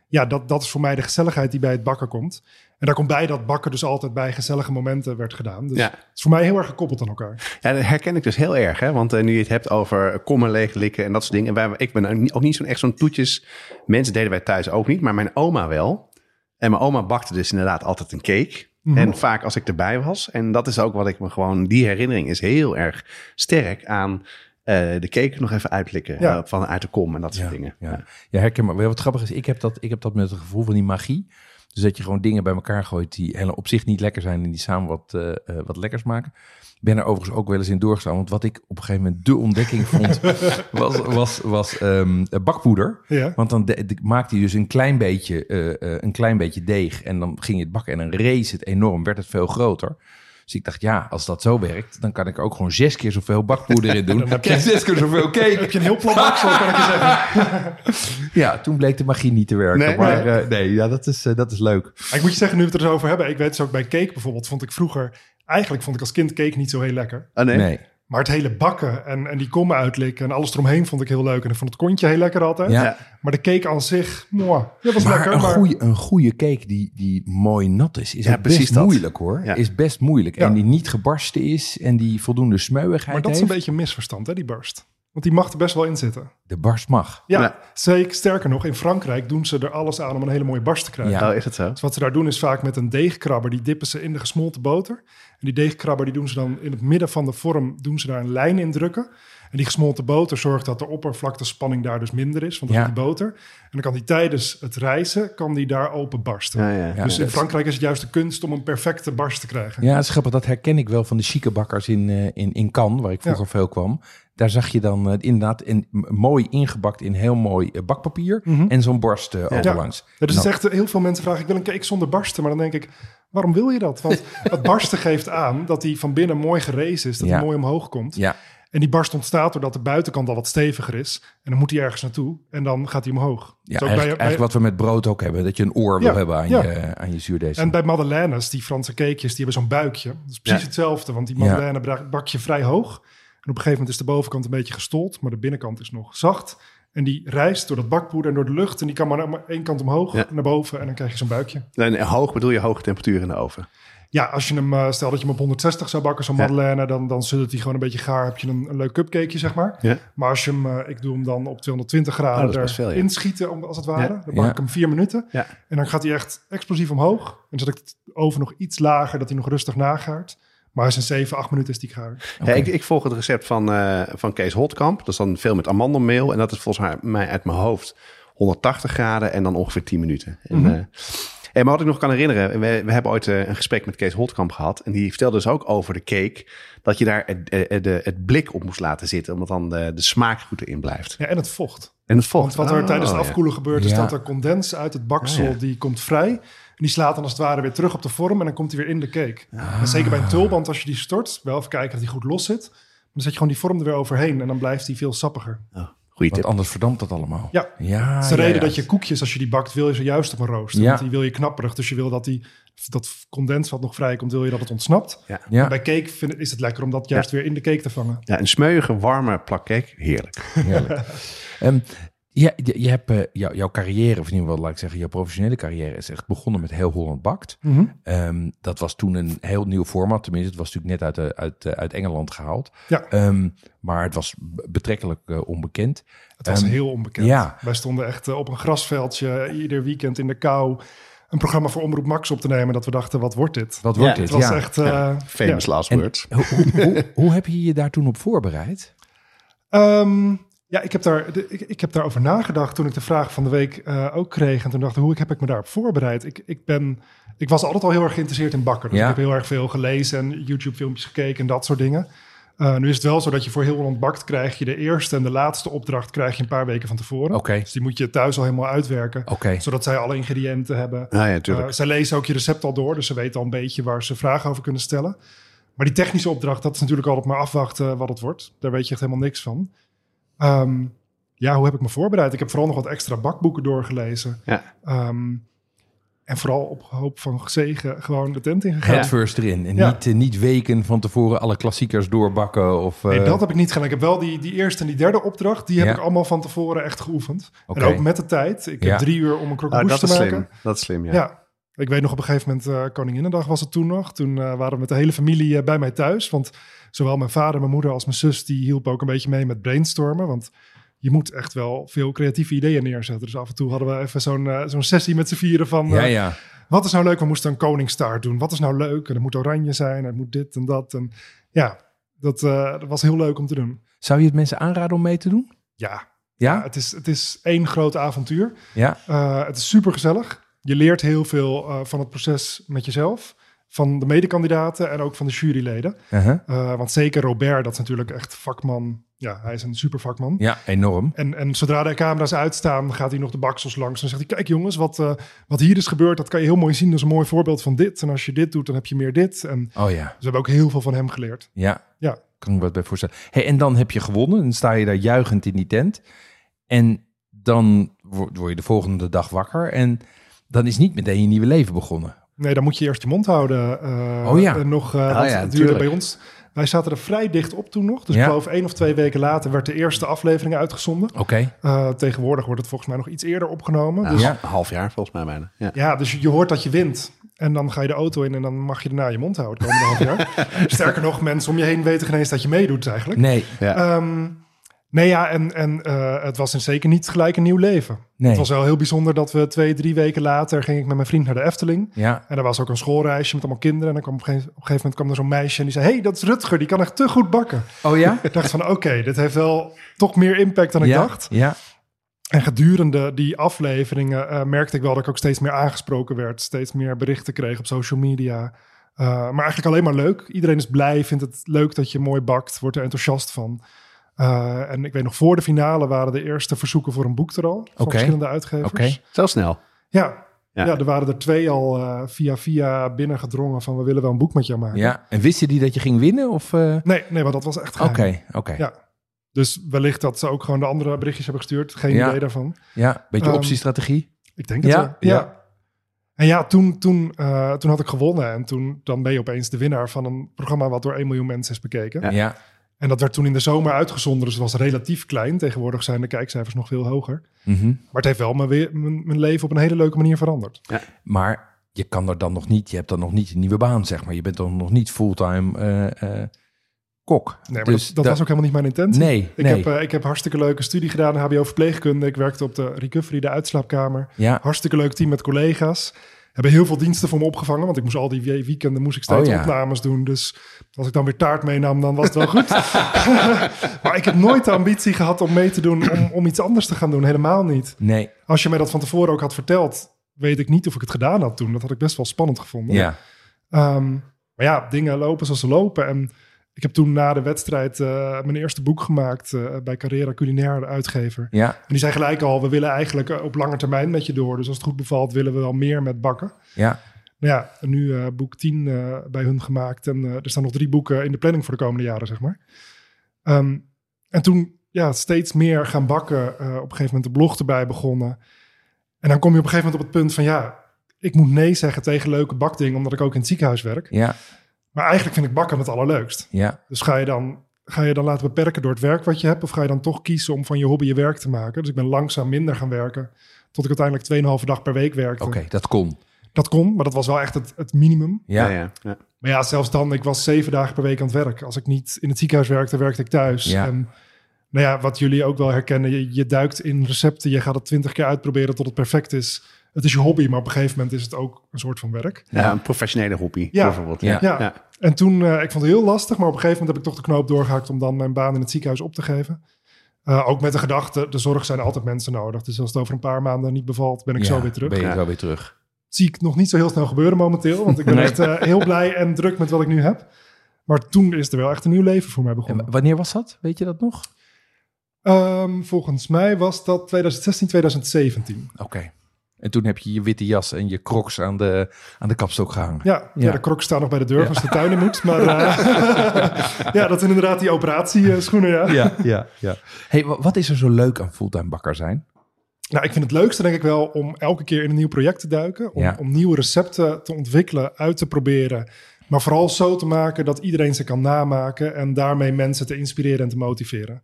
ja, dat, dat is voor mij de gezelligheid die bij het bakken komt. En daar komt bij dat bakken dus altijd bij gezellige momenten werd gedaan. Dus Ja. het is voor mij heel erg gekoppeld aan elkaar. Ja, dat herken ik dus heel erg. Hè? Want eh, nu je het hebt over kommen leeglikken en dat soort dingen. En wij, ik ben ook niet- ook niet zo'n echt zo'n toetjes. Mensen deden wij thuis ook niet, maar mijn oma wel. En mijn oma bakte dus inderdaad altijd een cake. Mhm. En vaak als ik erbij was. En dat is ook wat ik me gewoon... Die herinnering is heel erg sterk aan eh, de cake nog even uitlikken. Ja. eh, vanuit de kom en dat soort ja, dingen. Ja. ja, herken maar. Wat grappig is, ik heb, dat, ik heb dat met het gevoel van die magie. Dus dat je gewoon dingen bij elkaar gooit die hele- op zich niet lekker zijn en die samen wat, eh, eh, wat lekkers maken. Ik ben er overigens ook wel eens in doorgestaan. Want wat ik op een gegeven moment de ontdekking vond, was, was, was ehm, bakpoeder. Ja. Want dan de- de- maakte hij dus een klein, beetje, eh, eh, een klein beetje deeg. En dan ging je het bakken. En dan race het enorm. Werd het veel groter. Dus ik dacht, ja, als dat zo werkt, dan kan ik ook gewoon zes keer zoveel bakpoeder in doen. Dan krijg ik zes keer zoveel cake. Heb je een heel plat baksel, kan ik je zeggen. Ja, toen bleek de magie niet te werken. Nee, maar eh, nee, ja, dat, is, eh, dat is leuk. Maar ik moet je zeggen, nu we het er zo over hebben. Ik weet dus ook bij cake bijvoorbeeld, vond ik vroeger... Eigenlijk vond ik als kind cake niet zo heel lekker. Oh nee? Nee. Maar het hele bakken en, en die kommen uitlikken en alles eromheen vond ik heel leuk. En ik vond het kontje heel lekker altijd. Ja. Ja. Maar de cake aan zich, moi, dat was Maar lekker. een maar goede, een goede cake die, die mooi nat is, is Ja, ook best precies dat. moeilijk hoor. Ja. Is best moeilijk. Ja. En die niet gebarsten is en die voldoende smeuigheid maar dat is heeft. een beetje een misverstand, hè, die barst. Want die mag er best wel in zitten. De barst mag. Ja, Ja. zeker. Sterker nog, in Frankrijk doen ze er alles aan om een hele mooie barst te krijgen. Ja. Oh, is het zo? Dus wat ze daar doen is vaak met een deegkrabber. Die dippen ze in de gesmolten boter. En die deegkrabber die doen ze dan in het midden van de vorm doen ze daar een lijn in drukken. En die gesmolten boter zorgt dat de oppervlaktespanning daar dus minder is. Want dat Ja. is die boter. En dan kan die tijdens het rijzen kan die daar open barsten. Ja, ja. Ja. Dus in dat- Frankrijk is het juist de kunst om een perfecte barst te krijgen. Ja, dat is grappig. Dat herken ik wel van de chique bakkers in, eh, in, in Cannes, waar ik vroeger veel kwam. Daar zag je dan eh, inderdaad in, m- mooi ingebakt in heel mooi eh, bakpapier. En zo'n borst eh, overlangs. Mhm. Ja, Nou, dus het is echt heel veel mensen vragen: ik wil een cake zonder barsten. Maar dan denk ik: waarom wil je dat? Want het barsten geeft aan dat die van binnen mooi gerezen is, dat Ja. die mooi omhoog komt. ja. En die barst ontstaat doordat de buitenkant al wat steviger is. En dan moet die ergens naartoe en dan gaat die omhoog. Ja, Zo eigenlijk, eigenlijk wat we met brood ook hebben. Dat je een oor wil Ja, hebben aan, ja. je, aan je zuurdeesem. En bij madeleines, die Franse cakejes, die hebben zo'n buikje. Dat is precies Ja. hetzelfde, want die Ja. madeleine bra- bak je vrij hoog. En op een gegeven moment is de bovenkant een beetje gestold, maar de binnenkant is nog zacht. En die rijst door dat bakpoeder en door de lucht. En die kan maar naar één kant omhoog, Ja. naar boven. En dan krijg je zo'n buikje. En hoog bedoel je hoge temperatuur in de oven? Ja, als je hem, eh, stel dat je hem op 160 zou bakken, zo'n Ja. madeleine, dan, dan zult hij gewoon een beetje gaar. Heb je een, een leuk cupcakeje, zeg maar. Ja. Maar als je hem, eh, ik doe hem dan op 220 Oh, dat graden is best veel, ja. inschieten, om, als het ware. Ja. Dan bak Ja. ik hem vier minuten. Ja. En dan gaat hij echt explosief omhoog. En dan zet ik het oven nog iets lager, dat hij nog rustig nagaart. Maar als in 7, 8 minuten is die gaar. Ja, ik, ik volg het recept van, eh, van Kees Holtkamp. Dat is dan veel met amandelmeel. En dat is volgens mij uit mijn hoofd 180 graden en dan ongeveer 10 minuten. En, Mhm. eh, en maar wat ik nog kan herinneren, we, we hebben ooit eh, een gesprek met Kees Holtkamp gehad. En die vertelde dus ook over de cake. Dat je daar het, eh, de, het blik op moest laten zitten. Omdat dan de, de smaak goed erin blijft. Ja, en het vocht. En het vocht. Want wat er Oh, tijdens het ja. afkoelen gebeurt, is Ja. dat er condens uit het baksel, Ah, ja. die komt vrij. En die slaat dan als het ware weer terug op de vorm en dan komt hij weer in de cake. Ah. En zeker bij een tulband, als je die stort, wel even kijken dat die goed los zit. Dan zet je gewoon die vorm er weer overheen en dan blijft die veel sappiger. Oh, goeie Want tip. anders verdampt dat allemaal. Ja. ja Dat is de ja, reden ja. dat je koekjes, als je die bakt, wil je ze juist op een rooster. Ah, Ja. Want die wil je knapperig. Dus je wil dat die, dat condens wat nog vrijkomt, wil je dat het ontsnapt. Ja, En bij cake vind- is het lekker om dat juist weer in de cake te vangen. Ja, een smeuïge, warme plak cake. Heerlijk. heerlijk. Ehm, ja, je, je hebt, eh, jou- jouw carrière, of in ieder geval, laat ik zeggen, jouw professionele carrière is echt begonnen met Heel Holland Bakt. Mhm. Ehm, dat was toen een heel nieuw format. Tenminste, het was natuurlijk net uit, de- uit, eh, uit Engeland gehaald. Ja. Ehm, maar het was b- betrekkelijk eh, onbekend. Het was Ehm, heel onbekend. ja. Wij stonden echt eh, op een grasveldje ieder weekend in de kou een programma voor Omroep Max op te nemen. Dat we dachten, wat wordt dit? Wat wordt Ja, dit? Het was Ja. echt... eh, Famous ja. last En- words. Hoe, hoe, hoe- hoe heb je je daar toen op voorbereid? Ehm, ja, ik heb, daar, de- ik, ik heb daarover nagedacht toen ik de vraag van de week eh, ook kreeg. En toen dacht ik, hoe heb ik me daarop voorbereid? Ik, ik, ben, ik was altijd al heel erg geïnteresseerd in bakken. Dus Ja. ik heb heel erg veel gelezen en YouTube-filmpjes gekeken en dat soort dingen. Eh, nu is het wel zo dat je voor heel Holland bakt krijg je de eerste en de laatste opdracht krijg je een paar weken van tevoren. Oké. Dus die moet je thuis al helemaal uitwerken. Oké. Zodat zij alle ingrediënten hebben. Ah, ja, tuurlijk. Eh, zij lezen ook je recept al door, dus ze weten al een beetje waar ze vragen over kunnen stellen. Maar die technische opdracht, dat is natuurlijk altijd maar afwachten wat het wordt. Daar weet je echt helemaal niks van. Ehm, ja, hoe heb ik me voorbereid? Ik heb vooral nog wat extra bakboeken doorgelezen. Ja. Ehm, en vooral op hoop van zegen gewoon de tent ingegaan. Head first erin. En Ja. niet, eh, niet weken van tevoren alle klassiekers doorbakken. Of, eh, Nee, dat heb ik niet gedaan. Ik heb wel die, die eerste en die derde opdracht, die heb Ja. ik allemaal van tevoren echt geoefend. Oké. En ook met de tijd. Ik Ja. heb drie uur om een Oh, croquembouche dat te is maken. slim. Dat is slim, ja. Eh, Ja. Ik weet nog op een gegeven moment, eh, Koninginnedag was het toen nog. Toen eh, waren we met de hele familie eh, bij mij thuis. Want zowel mijn vader, mijn moeder als mijn zus... die hielpen ook een beetje mee met brainstormen. Want je moet echt wel veel creatieve ideeën neerzetten. Dus af en toe hadden we even zo'n eh, zo'n sessie met z'n vieren van... Ja, eh, ja. Wat is nou leuk? We moesten een koningstaart doen. Wat is nou leuk? En het moet oranje zijn. En het moet dit en dat. En ja, dat, eh, dat was heel leuk om te doen. Zou je het mensen aanraden om mee te doen? Ja, Ja? het is, het is één groot avontuur. Ja. Eh, het is super gezellig. Je leert heel veel eh, van het proces met jezelf, van de medekandidaten en ook van de juryleden. Uh-huh. Eh, want zeker Robert, dat is natuurlijk echt vakman. Ja, hij is een super vakman. Ja, enorm. En, en zodra de camera's uitstaan, gaat hij nog de baksels langs. En zegt hij, kijk jongens, wat, eh, wat hier is gebeurd, dat kan je heel mooi zien. Dat is een mooi voorbeeld van dit. En als je dit doet, dan heb je meer dit. En dus Oh ja. we hebben ook heel veel van hem geleerd. Ja. Ja. Kan ik me wat bij voorstellen. Hey, en dan heb je gewonnen. Dan sta je daar juichend in die tent. En dan wo- word je de volgende dag wakker. En dan is niet meteen je nieuwe leven begonnen. Nee, dan moet je eerst je mond houden. eh, Oh ja. en nog, eh, ja, want het duurde tuurlijk. bij ons. Wij zaten er vrij dicht op toen nog. Dus Ja. ik geloof één of twee weken later werd de eerste aflevering uitgezonden. Oké. Eh, tegenwoordig wordt het volgens mij nog iets eerder opgenomen. Nou, dus, Ja. een half jaar volgens mij bijna. Ja. ja, dus je hoort dat je wint. En dan ga je de auto in en dan mag je daarna je mond houden. het komende half jaar. Sterker nog, mensen om je heen weten geen eens dat je meedoet eigenlijk. Nee. Ehm, nee, ja, en, en eh, het was dus zeker niet gelijk een nieuw leven. Nee. Het was wel heel bijzonder dat we twee, drie weken later ging ik met mijn vriend naar de Efteling. Ja. En er was ook een schoolreisje met allemaal kinderen. En dan kwam op, een gegeven, op een gegeven moment kwam er zo'n meisje en die zei... hey, dat is Rutger, die kan echt te goed bakken. Oh ja? Ik dacht van, oké, dit heeft wel toch meer impact dan ik ja. dacht. Ja. En gedurende die afleveringen eh, merkte ik wel dat ik ook steeds meer aangesproken werd. Steeds meer berichten kreeg op social media. Eh, maar eigenlijk alleen maar leuk. Iedereen is blij, vindt het leuk dat je mooi bakt, wordt er enthousiast van. Eh, en ik weet nog, voor de finale waren de eerste verzoeken voor een boek er al. Van Oké. verschillende uitgevers. Oké. Zo snel. Ja. Ja. Ja. er waren er twee al eh, via via binnengedrongen van we willen wel een boek met jou maken. Ja. En wisten die dat je ging winnen? Of... eh, Nee, nee, maar dat was echt Oké, geheim. oké. Ja. Ja. Dus wellicht dat ze ook gewoon de andere berichtjes hebben gestuurd. Geen Ja. idee daarvan. beetje Ehm, optiestrategie. Ik denk het Ja, wel. Ja. En ja, toen, toen, eh, toen had ik gewonnen. En toen dan ben je opeens de winnaar van een programma wat door 1 miljoen mensen is bekeken. Ja. En dat werd toen in de zomer uitgezonden. Dus het was relatief klein. Tegenwoordig zijn de kijkcijfers nog veel hoger. Mhm. Maar het heeft wel mijn, we- mijn, mijn leven op een hele leuke manier veranderd. Maar je kan er dan nog niet, je hebt dan nog niet een nieuwe baan, zeg maar. Je bent dan nog niet fulltime eh, eh, kok. Dus Nee, maar dat, dat was ook helemaal niet mijn intentie. Nee, Ik, nee. heb, eh, ik heb hartstikke leuke studie gedaan, HBO verpleegkunde. Ik werkte op de recovery, de uitslaapkamer. ja. Hartstikke leuk team met collega's. Hebben heel veel diensten voor me opgevangen. Want ik moest al die we- weekenden moest ik steeds Oh ja. opnames doen. Dus als ik dan weer taart meenam, dan was het wel goed. maar ik heb nooit de ambitie gehad om mee te doen om, om iets anders te gaan doen. Helemaal niet. Nee, Als je mij dat van tevoren ook had verteld, weet ik niet of ik het gedaan had toen. Dat had ik best wel spannend gevonden. ja. Ehm, maar ja, dingen lopen zoals ze lopen. En ik heb toen na de wedstrijd eh, mijn eerste boek gemaakt eh, bij Carrera Culinaire, de uitgever. Ja, En die zei gelijk al, we willen eigenlijk eh, op lange termijn met je door. Dus als het goed bevalt, willen we wel meer met bakken. ja. Nou ja, en nu eh, boek 10 eh, bij hun gemaakt. En eh, er staan nog drie boeken in de planning voor de komende jaren, zeg maar. Ehm, en toen ja, steeds meer gaan bakken. eh, op een gegeven moment de blog erbij begonnen. En dan kom je op een gegeven moment op het punt van... ja, ik moet nee zeggen tegen leuke bakdingen... omdat ik ook in het ziekenhuis werk. Ja, Maar eigenlijk vind ik bakken het allerleukst. ja. Dus ga je, dan, ga je dan laten beperken door het werk wat je hebt? Of ga je dan toch kiezen om van je hobby je werk te maken? Dus ik ben langzaam minder gaan werken. Tot ik uiteindelijk 2,5 dag per week werkte. Oké, dat kon. Dat kon, maar dat was wel echt het, het minimum. Ja, Ja, ja, ja. Maar ja, zelfs dan, ik was zeven dagen per week aan het werk. Als ik niet in het ziekenhuis werkte, werkte ik thuis. Ja. En nou ja, wat jullie ook wel herkennen, je, je duikt in recepten. Je gaat het 20 keer uitproberen tot het perfect is. Het is je hobby, maar op een gegeven moment is het ook een soort van werk. Ja, een professionele hobby Ja. bijvoorbeeld. Ja. En toen, eh, ik vond het heel lastig, maar op een gegeven moment heb ik toch de knoop doorgehakt om dan mijn baan in het ziekenhuis op te geven. Eh, ook met de gedachte, de zorg zijn altijd mensen nodig. Dus als het over een paar maanden niet bevalt, ben ik Ja, zo weer terug. Ben je Ja. zo weer terug. Zie ik nog niet zo heel snel gebeuren momenteel, want ik ben Nee. echt eh, heel blij en druk met wat ik nu heb. Maar toen is er wel echt een nieuw leven voor mij En begonnen. w- wanneer was dat? Weet je dat nog? Ehm, volgens mij was dat 2016, 2017. Oké. En toen heb je je witte jas en je crocs aan de, aan de kapstok gehangen. Ja, ja. Ja. de krok staat nog bij de deur als de tuin in moet. Maar eh, ja, dat zijn inderdaad die operatieschoenen, ja. ja, ja. ja. hey, wa- wat is er zo leuk aan fulltime bakker zijn? Nou, ik vind het leukste denk ik wel om elke keer in een nieuw project te duiken. Om, Ja. om nieuwe recepten te ontwikkelen, uit te proberen. Maar vooral zo te maken dat iedereen ze kan namaken. En daarmee mensen te inspireren en te motiveren.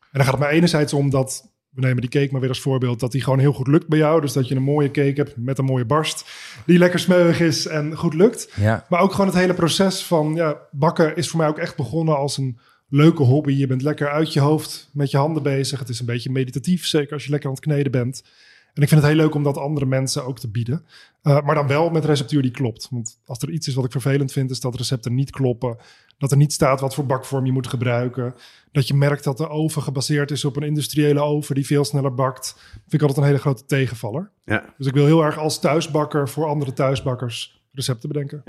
En dan gaat het mij enerzijds om dat we nemen die cake maar weer als voorbeeld, dat die gewoon heel goed lukt bij jou. Dus dat je een mooie cake hebt met een mooie barst, die lekker smeuig is en goed lukt. Ja, Maar ook gewoon het hele proces van ja, bakken is voor mij ook echt begonnen als een leuke hobby. Je bent lekker uit je hoofd met je handen bezig. Het is een beetje meditatief, zeker als je lekker aan het kneden bent. En ik vind het heel leuk om dat andere mensen ook te bieden. Uh, maar dan wel met receptuur die klopt. Want als er iets is wat ik vervelend vind, is dat recepten niet kloppen. Dat er niet staat wat voor bakvorm je moet gebruiken. Dat je merkt dat de oven gebaseerd is op een industriële oven die veel sneller bakt. Vind ik altijd een hele grote tegenvaller. Ja. Dus ik wil heel erg als thuisbakker voor andere thuisbakkers recepten bedenken.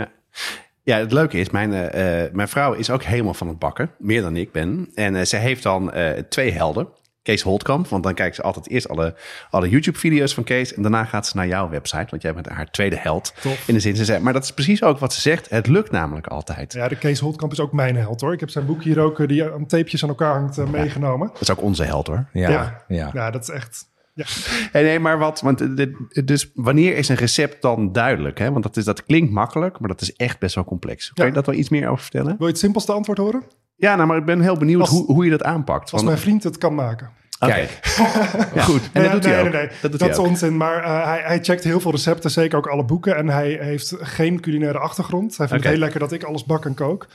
Ja, het leuke is, mijn, eh, eh, mijn vrouw is ook helemaal van het bakken. Meer dan ik ben. En eh, zij heeft dan eh, twee helden. Kees Holtkamp, want dan kijkt ze altijd eerst alle, alle YouTube-video's van Kees. En daarna gaat ze naar jouw website, want jij bent haar tweede held. Tof. In de zin, ze zei, maar dat is precies ook wat ze zegt. Het lukt namelijk altijd. Ja, de Kees Holtkamp is ook mijn held hoor. Ik heb zijn boek hier ook, eh, die aan tapejes aan elkaar hangt, eh, meegenomen. Dat is ook onze held hoor. ja, ja. ja. dat is echt... Ja. Hey, nee, maar wat, want eh, dit- dus wanneer is een recept dan duidelijk? Hè? Want dat, is, dat klinkt makkelijk, maar dat is echt best wel complex. Kun je Ja. dat wel iets meer over vertellen? Wil je het simpelste antwoord horen? Ja, nou, maar ik ben heel benieuwd Als- hoe, hoe je dat aanpakt. Als Want- mijn vriend het kan maken. Kijk, goed. En dat Nee, doet nee, hij ook. nee, nee. Dat doet is hij ook. onzin. Maar eh, hij, hij checkt heel veel recepten, zeker ook alle boeken. En hij heeft geen culinaire achtergrond. Hij vindt Oké. het heel lekker dat ik alles bak en kook.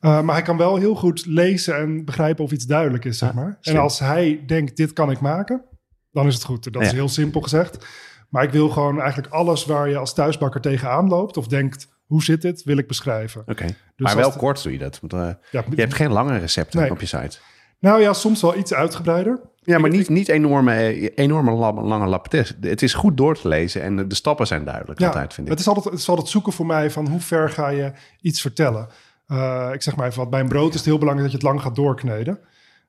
Eh, maar hij kan wel heel goed lezen en begrijpen of iets duidelijk is, zeg maar. En Ah, slim. als hij denkt, dit kan ik maken, dan is het goed. Dat is Ja. heel simpel gezegd. Maar ik wil gewoon eigenlijk alles waar je als thuisbakker tegenaan loopt... of denkt, hoe zit dit, wil ik beschrijven. Oké. als maar wel de- kort doe je dat. Want, eh, Ja, je hebt geen lange recepten Nee. op je site. Nou ja, soms wel iets uitgebreider. Ja, maar niet, niet enorme, eh, enorme lam- lange lappetest. Het is goed door te lezen en de de stappen zijn duidelijk altijd, vind ik. Het is, altijd, het is altijd zoeken voor mij van hoe ver ga je iets vertellen. Eh, ik zeg maar even wat, bij een brood is het heel belangrijk dat je het lang gaat doorkneden.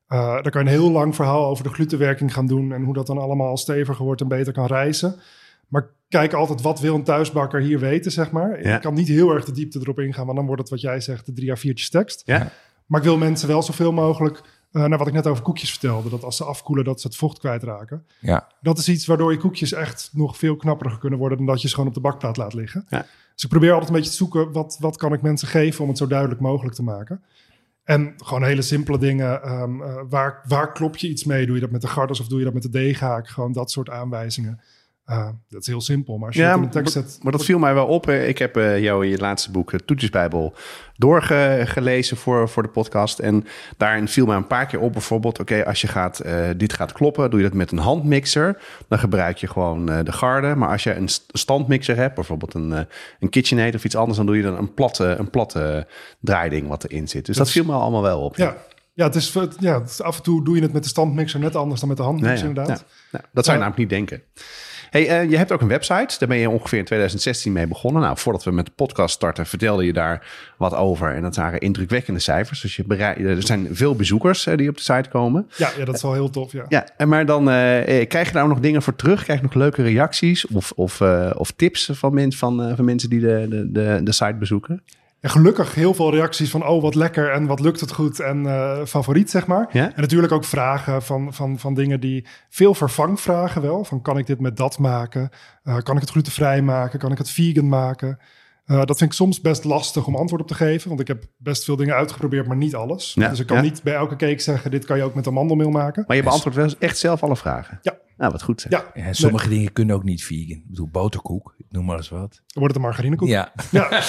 Eh daar kan je een heel lang verhaal over de glutenwerking gaan doen... en hoe dat dan allemaal steviger wordt en beter kan rijzen. Maar ik kijk altijd, wat wil een thuisbakker hier weten, zeg maar. Ja. Ik kan niet heel erg de diepte erop ingaan... want dan wordt het wat jij zegt, de drie à viertjes tekst. Ja? Maar ik wil mensen wel zoveel mogelijk... eh naar wat ik net over koekjes vertelde... dat als ze afkoelen, dat ze het vocht kwijtraken. ja. Dat is iets waardoor je koekjes echt nog veel knapperiger kunnen worden dan dat je ze gewoon op de bakplaat laat liggen. Ja. Dus ik probeer altijd een beetje te zoeken wat, wat kan ik mensen geven om het zo duidelijk mogelijk te maken. En gewoon hele simpele dingen. ehm, eh, waar, waar klop je iets mee? Doe je dat met de garders of doe je dat met de deeghaak? Gewoon dat soort aanwijzingen. Eh, dat is heel simpel, maar als je Ja, dat in een maar, tekst zet... maar dat viel mij wel op. hè. Ik heb eh, jou in je laatste boek, eh, Toetjesbijbel, doorgelezen voor, voor de podcast. En daarin viel mij een paar keer op bijvoorbeeld... oké, als je gaat, eh, dit gaat kloppen, doe je dat met een handmixer. Dan gebruik je gewoon eh, de garde. Maar als je een st- standmixer hebt, bijvoorbeeld een, eh, een KitchenAid of iets anders... dan doe je dan een platte, een platte draaiding wat erin zit. Dus dat, is- viel me allemaal wel op. ja, ja, het is, het- ja, het is- af en toe doe je het met de standmixer net anders dan met de handmixer Nee, ja. inderdaad. Ja. Ja. dat zou je Ja. namelijk niet denken. Hey, eh, je hebt ook een website. Daar ben je ongeveer in 2016 mee begonnen. Nou, voordat we met de podcast starten, vertelde je daar wat over. En dat waren indrukwekkende cijfers. Dus je berei- er zijn veel bezoekers eh, die op de site komen. Ja, ja, dat is wel heel tof, ja. Ja, en maar dan eh, eh, krijg je daar ook nog dingen voor terug? Krijg je nog leuke reacties of, of, eh, of tips van, men, van, eh, van mensen die de, de, de, de site bezoeken? En gelukkig heel veel reacties van oh, wat lekker en wat lukt het goed en eh, favoriet, zeg maar. Ja? En natuurlijk ook vragen van, van, van dingen die veel vervangvragen wel. Van kan ik dit met dat maken? Eh, kan ik het glutenvrij maken? Kan ik het vegan maken? Eh, dat vind ik soms best lastig om antwoord op te geven. Want ik heb best veel dingen uitgeprobeerd, maar niet alles. Ja, dus ik kan ja. niet bij elke cake zeggen, dit kan je ook met amandelmeel maken. Maar je beantwoordt wel echt zelf alle vragen. Ja. Nou, wat goed. zeg. Ja, En sommige dingen kunnen ook niet vegan. Ik bedoel, boterkoek, ik noem maar eens wat. dan wordt het een margarinekoek. Ja, Ja.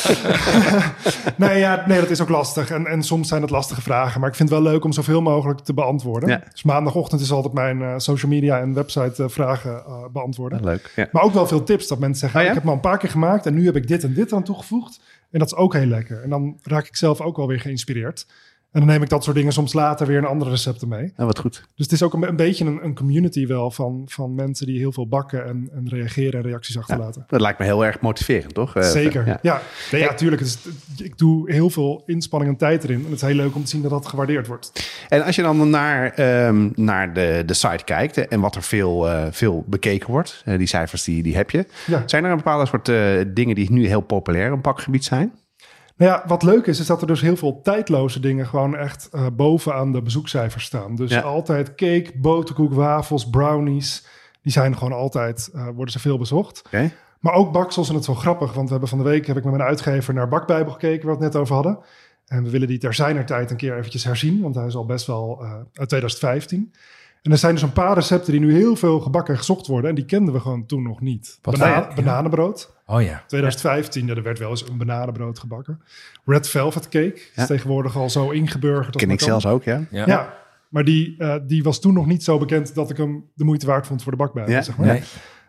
nee, ja, nee, dat is ook lastig. En, en soms zijn het lastige vragen. Maar ik vind het wel leuk om zoveel mogelijk te beantwoorden. Ja. Dus maandagochtend is altijd mijn eh, social media en website eh, vragen eh, beantwoorden. Wat leuk. Ja. Maar ook wel veel tips dat mensen zeggen... Oh ja? ik heb me al een paar keer gemaakt en nu heb ik dit en dit aan toegevoegd. En dat is ook heel lekker. En dan raak ik zelf ook wel weer geïnspireerd. En dan neem ik dat soort dingen soms later weer in andere recepten mee. Nou, wat goed. Dus het is ook een, een beetje een, een community wel van, van mensen die heel veel bakken en, en reageren en reacties achterlaten. Dat lijkt me heel erg motiverend, toch? Eh, Zeker, ja. ja. Ja, nee, ja tuurlijk. Het is- ik doe heel veel inspanning en tijd erin. En het is heel leuk om te zien dat dat gewaardeerd wordt. En als je dan naar, ehm, naar de, de site kijkt eh, en wat er veel, eh, veel bekeken wordt, eh, die cijfers die, die heb je. Ja. Zijn er een bepaalde soort eh, dingen die nu heel populair op pakgebied zijn? Nou ja, wat leuk is, is dat er dus heel veel tijdloze dingen gewoon echt eh bovenaan de bezoekcijfers staan. Dus Ja. altijd cake, boterkoek, wafels, brownies. Die zijn gewoon altijd, eh, worden ze veel bezocht. Oké. Maar ook baksels, en dat is wel grappig, want we hebben van de week heb ik met mijn uitgever naar Bakbijbel gekeken, waar we het net over hadden. En we willen die ter zijner tijd een keer eventjes herzien, want hij is al best wel eh, uit 2015. En En er zijn dus een paar recepten die nu heel veel gebakken en gezocht worden. En die kenden we gewoon toen nog niet. Wat Bana- zei je? Bananenbrood. Oh ja. 2015, ja, er werd wel eens een bananenbrood gebakken. Red Velvet Cake Ja. is tegenwoordig al zo ingeburgerd. als Ken maar ik kan. zelfs ook, ja. Ja. Ja, maar die, eh, die was toen nog niet zo bekend dat ik hem de moeite waard vond voor de bakbijl. Ja. Zeg maar. Nee.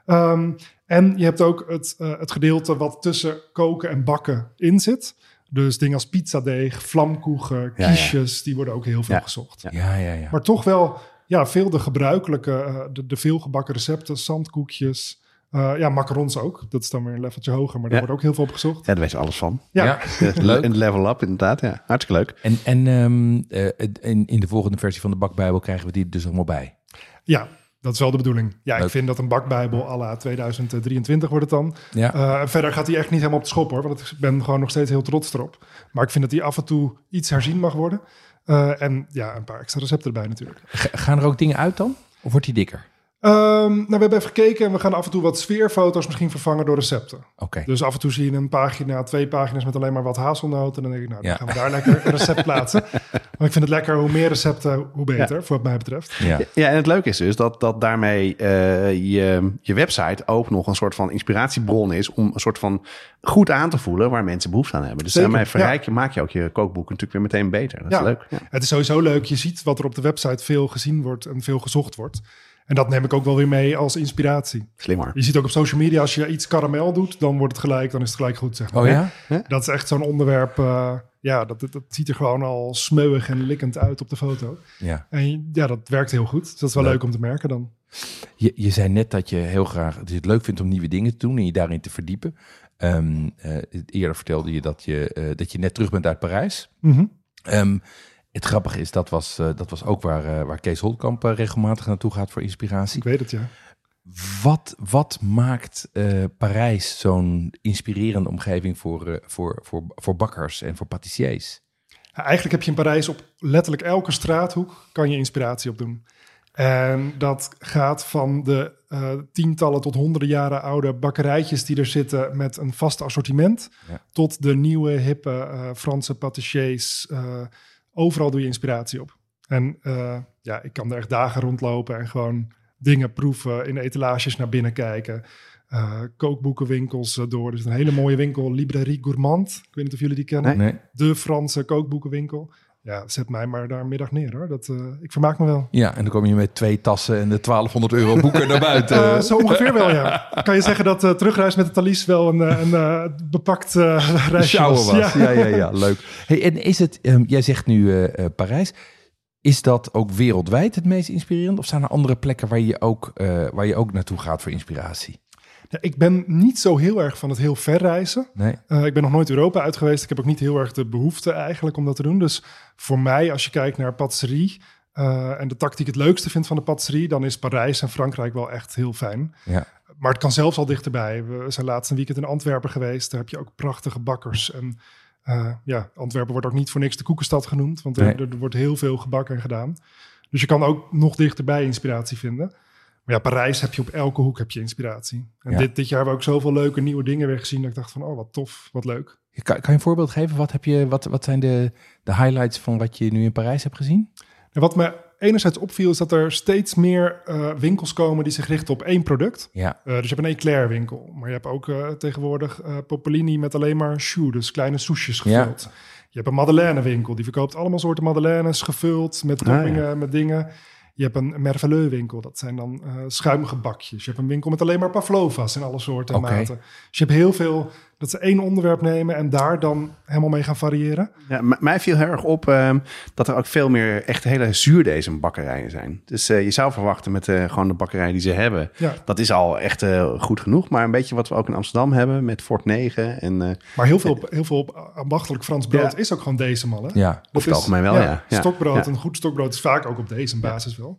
Ehm, en je hebt ook het, eh, het gedeelte wat tussen koken en bakken in zit. Dus dingen als pizzadeeg, vlamkoegen, Ja, ja. kiesjes, die worden ook heel veel Ja. gezocht. Ja, ja, ja. Maar toch wel ja, veel de gebruikelijke, eh, de, de veelgebakken recepten, zandkoekjes. eh, ja, macarons ook. Dat is dan weer een leveltje hoger, maar daar Ja. wordt ook heel veel op gezocht. Ja, daar weet je alles van. Ja, Ja. Leuk. Leuk. Een level up, inderdaad. Ja. Hartstikke leuk. En, en ehm, eh, het- in, in de volgende versie van de Bakbijbel krijgen we die dus allemaal bij. ja, dat is wel de bedoeling. Ja, Leuk. ik vind dat een bakbijbel à la 2023 wordt het dan. Ja. Eh, verder gaat hij echt niet helemaal op de schop hoor. Want ik ben gewoon nog steeds heel trots erop. Maar ik vind dat hij af en toe iets herzien mag worden. Eh, en ja, een paar extra recepten erbij natuurlijk. Ga- gaan er ook dingen uit dan? Of wordt die dikker? Ehm, nou, we hebben even gekeken en we gaan af en toe wat sfeerfoto's misschien vervangen door recepten. Oké. Dus af en toe zie je een pagina, twee pagina's met alleen maar wat hazelnoten. En dan denk ik, nou, Ja. dan gaan we daar lekker een recept plaatsen. Maar ik vind het lekker, hoe meer recepten, hoe beter, voor wat mij betreft. Ja. Ja, en het leuke is dus dat, dat daarmee eh, je, je website ook nog een soort van inspiratiebron is om een soort van goed aan te voelen waar mensen behoefte aan hebben. Dus Zeker, daarmee verrijk je, maak je ook je kookboek natuurlijk weer meteen beter. Dat is Ja. leuk. Ja. Het is sowieso leuk. Je ziet wat er op de website veel gezien wordt en veel gezocht wordt. En dat neem ik ook wel weer mee als inspiratie. Slimmer. Je ziet ook op social media, als je iets karamel doet, dan wordt het gelijk, dan is het gelijk goed. Zeg maar. Oh ja? Dat is echt zo'n onderwerp, eh, ja, dat, dat, dat ziet er gewoon al smeuig en likkend uit op de foto. Ja. En ja, dat werkt heel goed. Dus dat is wel Leuk. leuk, om te merken dan. Je, je zei net dat je heel graag dat je het leuk vindt om nieuwe dingen te doen en je daarin te verdiepen. Ehm, eh, eerder vertelde je dat je, eh, dat je net terug bent uit Parijs. Mhm. Ehm, het grappige is, dat was, eh, dat was ook waar, eh, waar Kees Holtkamp eh, regelmatig naartoe gaat voor inspiratie. Ik weet het, ja. Wat, wat maakt eh, Parijs zo'n inspirerende omgeving voor, eh, voor, voor, voor bakkers en voor patissiers? Eigenlijk heb je in Parijs op letterlijk elke straathoek kan je inspiratie opdoen. En dat gaat van de eh, tientallen tot honderden jaren oude bakkerijtjes die er zitten met een vast assortiment, Ja. tot de nieuwe, hippe eh, Franse patissiers. Eh, overal doe je inspiratie op. En eh, ja, ik kan er echt dagen rondlopen en gewoon dingen proeven, in etalages naar binnen kijken. eh, kookboekenwinkels eh, door. Dus een hele mooie winkel, Librairie Gourmand. Ik weet niet of jullie die kennen Nee. de Franse kookboekenwinkel. Ja, zet mij maar daar een middag neer hoor. Dat, eh, ik vermaak me wel. Ja, en dan kom je met twee tassen en de 1200 euro boeken naar buiten. Eh, zo ongeveer wel, ja. Kan je zeggen dat eh, terugreis met de Thalys wel een, eh, een eh, bepakt eh reisje Sjouwen was? was. Ja, ja, ja, leuk. Hey, en is het, ehm, jij zegt nu eh, eh, Parijs. Is dat ook wereldwijd het meest inspirerend? Of zijn er andere plekken waar je ook, eh, waar je ook naartoe gaat voor inspiratie? Ja, Ik ben niet zo heel erg van het heel ver reizen. Nee. Eh, ik ben nog nooit Europa uit geweest. Ik heb ook niet heel erg de behoefte eigenlijk om dat te doen. Dus voor mij, als je kijkt naar patisserie eh, en de tak die ik het leukste vind van de patisserie, dan is Parijs en Frankrijk wel echt heel fijn. Ja. Maar het kan zelfs al dichterbij. We zijn laatst een weekend in Antwerpen geweest. Daar heb je ook prachtige bakkers. En eh, ja, Antwerpen wordt ook niet voor niks de koekenstad genoemd, want er, Nee. er wordt heel veel gebakken en gedaan. Dus je kan ook nog dichterbij inspiratie vinden. Maar ja, Parijs heb je op elke hoek heb je inspiratie. En Ja. dit, dit jaar hebben we ook zoveel leuke nieuwe dingen weer gezien. Dat ik dacht van, oh, wat tof, wat leuk. Kan, kan je een voorbeeld geven? Wat, heb je, wat, wat zijn de, de highlights van wat je nu in Parijs hebt gezien? En wat me enerzijds opviel, is dat er steeds meer eh, winkels komen die zich richten op één product. Ja. Eh, dus je hebt een eclair winkel, maar je hebt ook eh, tegenwoordig eh Popolini met alleen maar choux, dus kleine soesjes gevuld. Je hebt een madeleine winkel, die verkoopt allemaal soorten madeleines gevuld met Ah, ja. toppingen, met dingen. Je hebt een merveleux winkel, dat zijn dan eh schuimgebakjes. Je hebt een winkel met alleen maar pavlovas in alle soorten en Oké. maten. Dus je hebt heel veel, dat ze één onderwerp nemen en daar dan helemaal mee gaan variëren. Ja, m- mij viel heel erg op ehm, dat er ook veel meer echt hele zuurdezenbakkerijen zijn. Dus eh, je zou verwachten met eh, gewoon de bakkerij die ze hebben. Ja. Dat is al echt eh, goed genoeg. Maar een beetje wat we ook in Amsterdam hebben met Fort 9 en eh, Maar heel veel, op- heel veel op ambachtelijk Frans brood Ja. is ook gewoon deze mannen. Ja. Over het algemeen wel, ja. Ja. Stokbrood, Ja. een goed stokbrood is vaak ook op deze basis wel.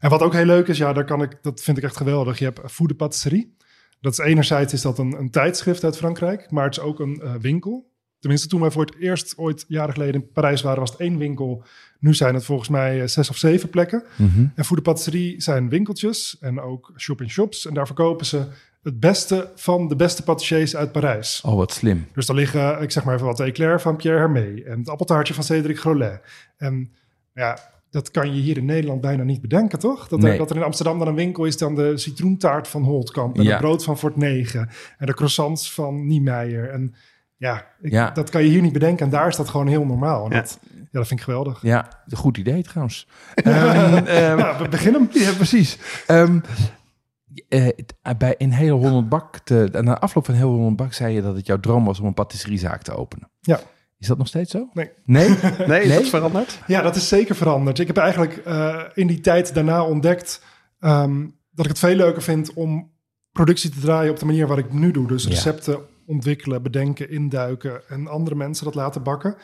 En wat ook heel leuk is, ja, daar kan ik, dat vind ik echt geweldig. Je hebt Food de Patisserie. Dat is enerzijds is dat een, een tijdschrift uit Frankrijk, maar het is ook een eh, winkel. Tenminste, toen wij voor het eerst ooit jaren geleden in Parijs waren, was het één winkel. Nu zijn het volgens mij eh, zes of zeven plekken. Mhm. En Food de Patisserie zijn winkeltjes en ook shop-in-shops. En daar verkopen ze het beste van de beste patissiers uit Parijs. Oh, wat slim. Dus daar liggen, ik zeg maar even wat, de eclair van Pierre Hermé en het appeltaartje van Cédric Grolet. En ja, Dat kan je hier in Nederland bijna niet bedenken, toch? Dat, er- Nee. dat er in Amsterdam dan een winkel is dan de citroentaart van Holtkamp... en Ja. het brood van Fort 9 en de croissants van Niemeyer. En ja, ik- Ja. dat kan je hier niet bedenken. En daar is dat gewoon heel normaal. En Ja. Dat, ja, dat vind ik geweldig. Ja, goed idee trouwens. Ehm, ehm, Ja, we beginnen hem. ja, precies. Ehm, eh, t- eh, bij in heel Holland Bak, te, na afloop van heel Holland Bak, zei je dat het jouw droom was om een patisseriezaak te openen. Ja. Is dat nog steeds zo? Nee. Nee? Nee, is Nee? dat veranderd? Ja, dat is zeker veranderd. Ik heb eigenlijk eh, in die tijd daarna ontdekt ehm, dat ik het veel leuker vind om productie te draaien op de manier waar ik het nu doe. Dus Ja. recepten ontwikkelen, bedenken, induiken en andere mensen dat laten bakken.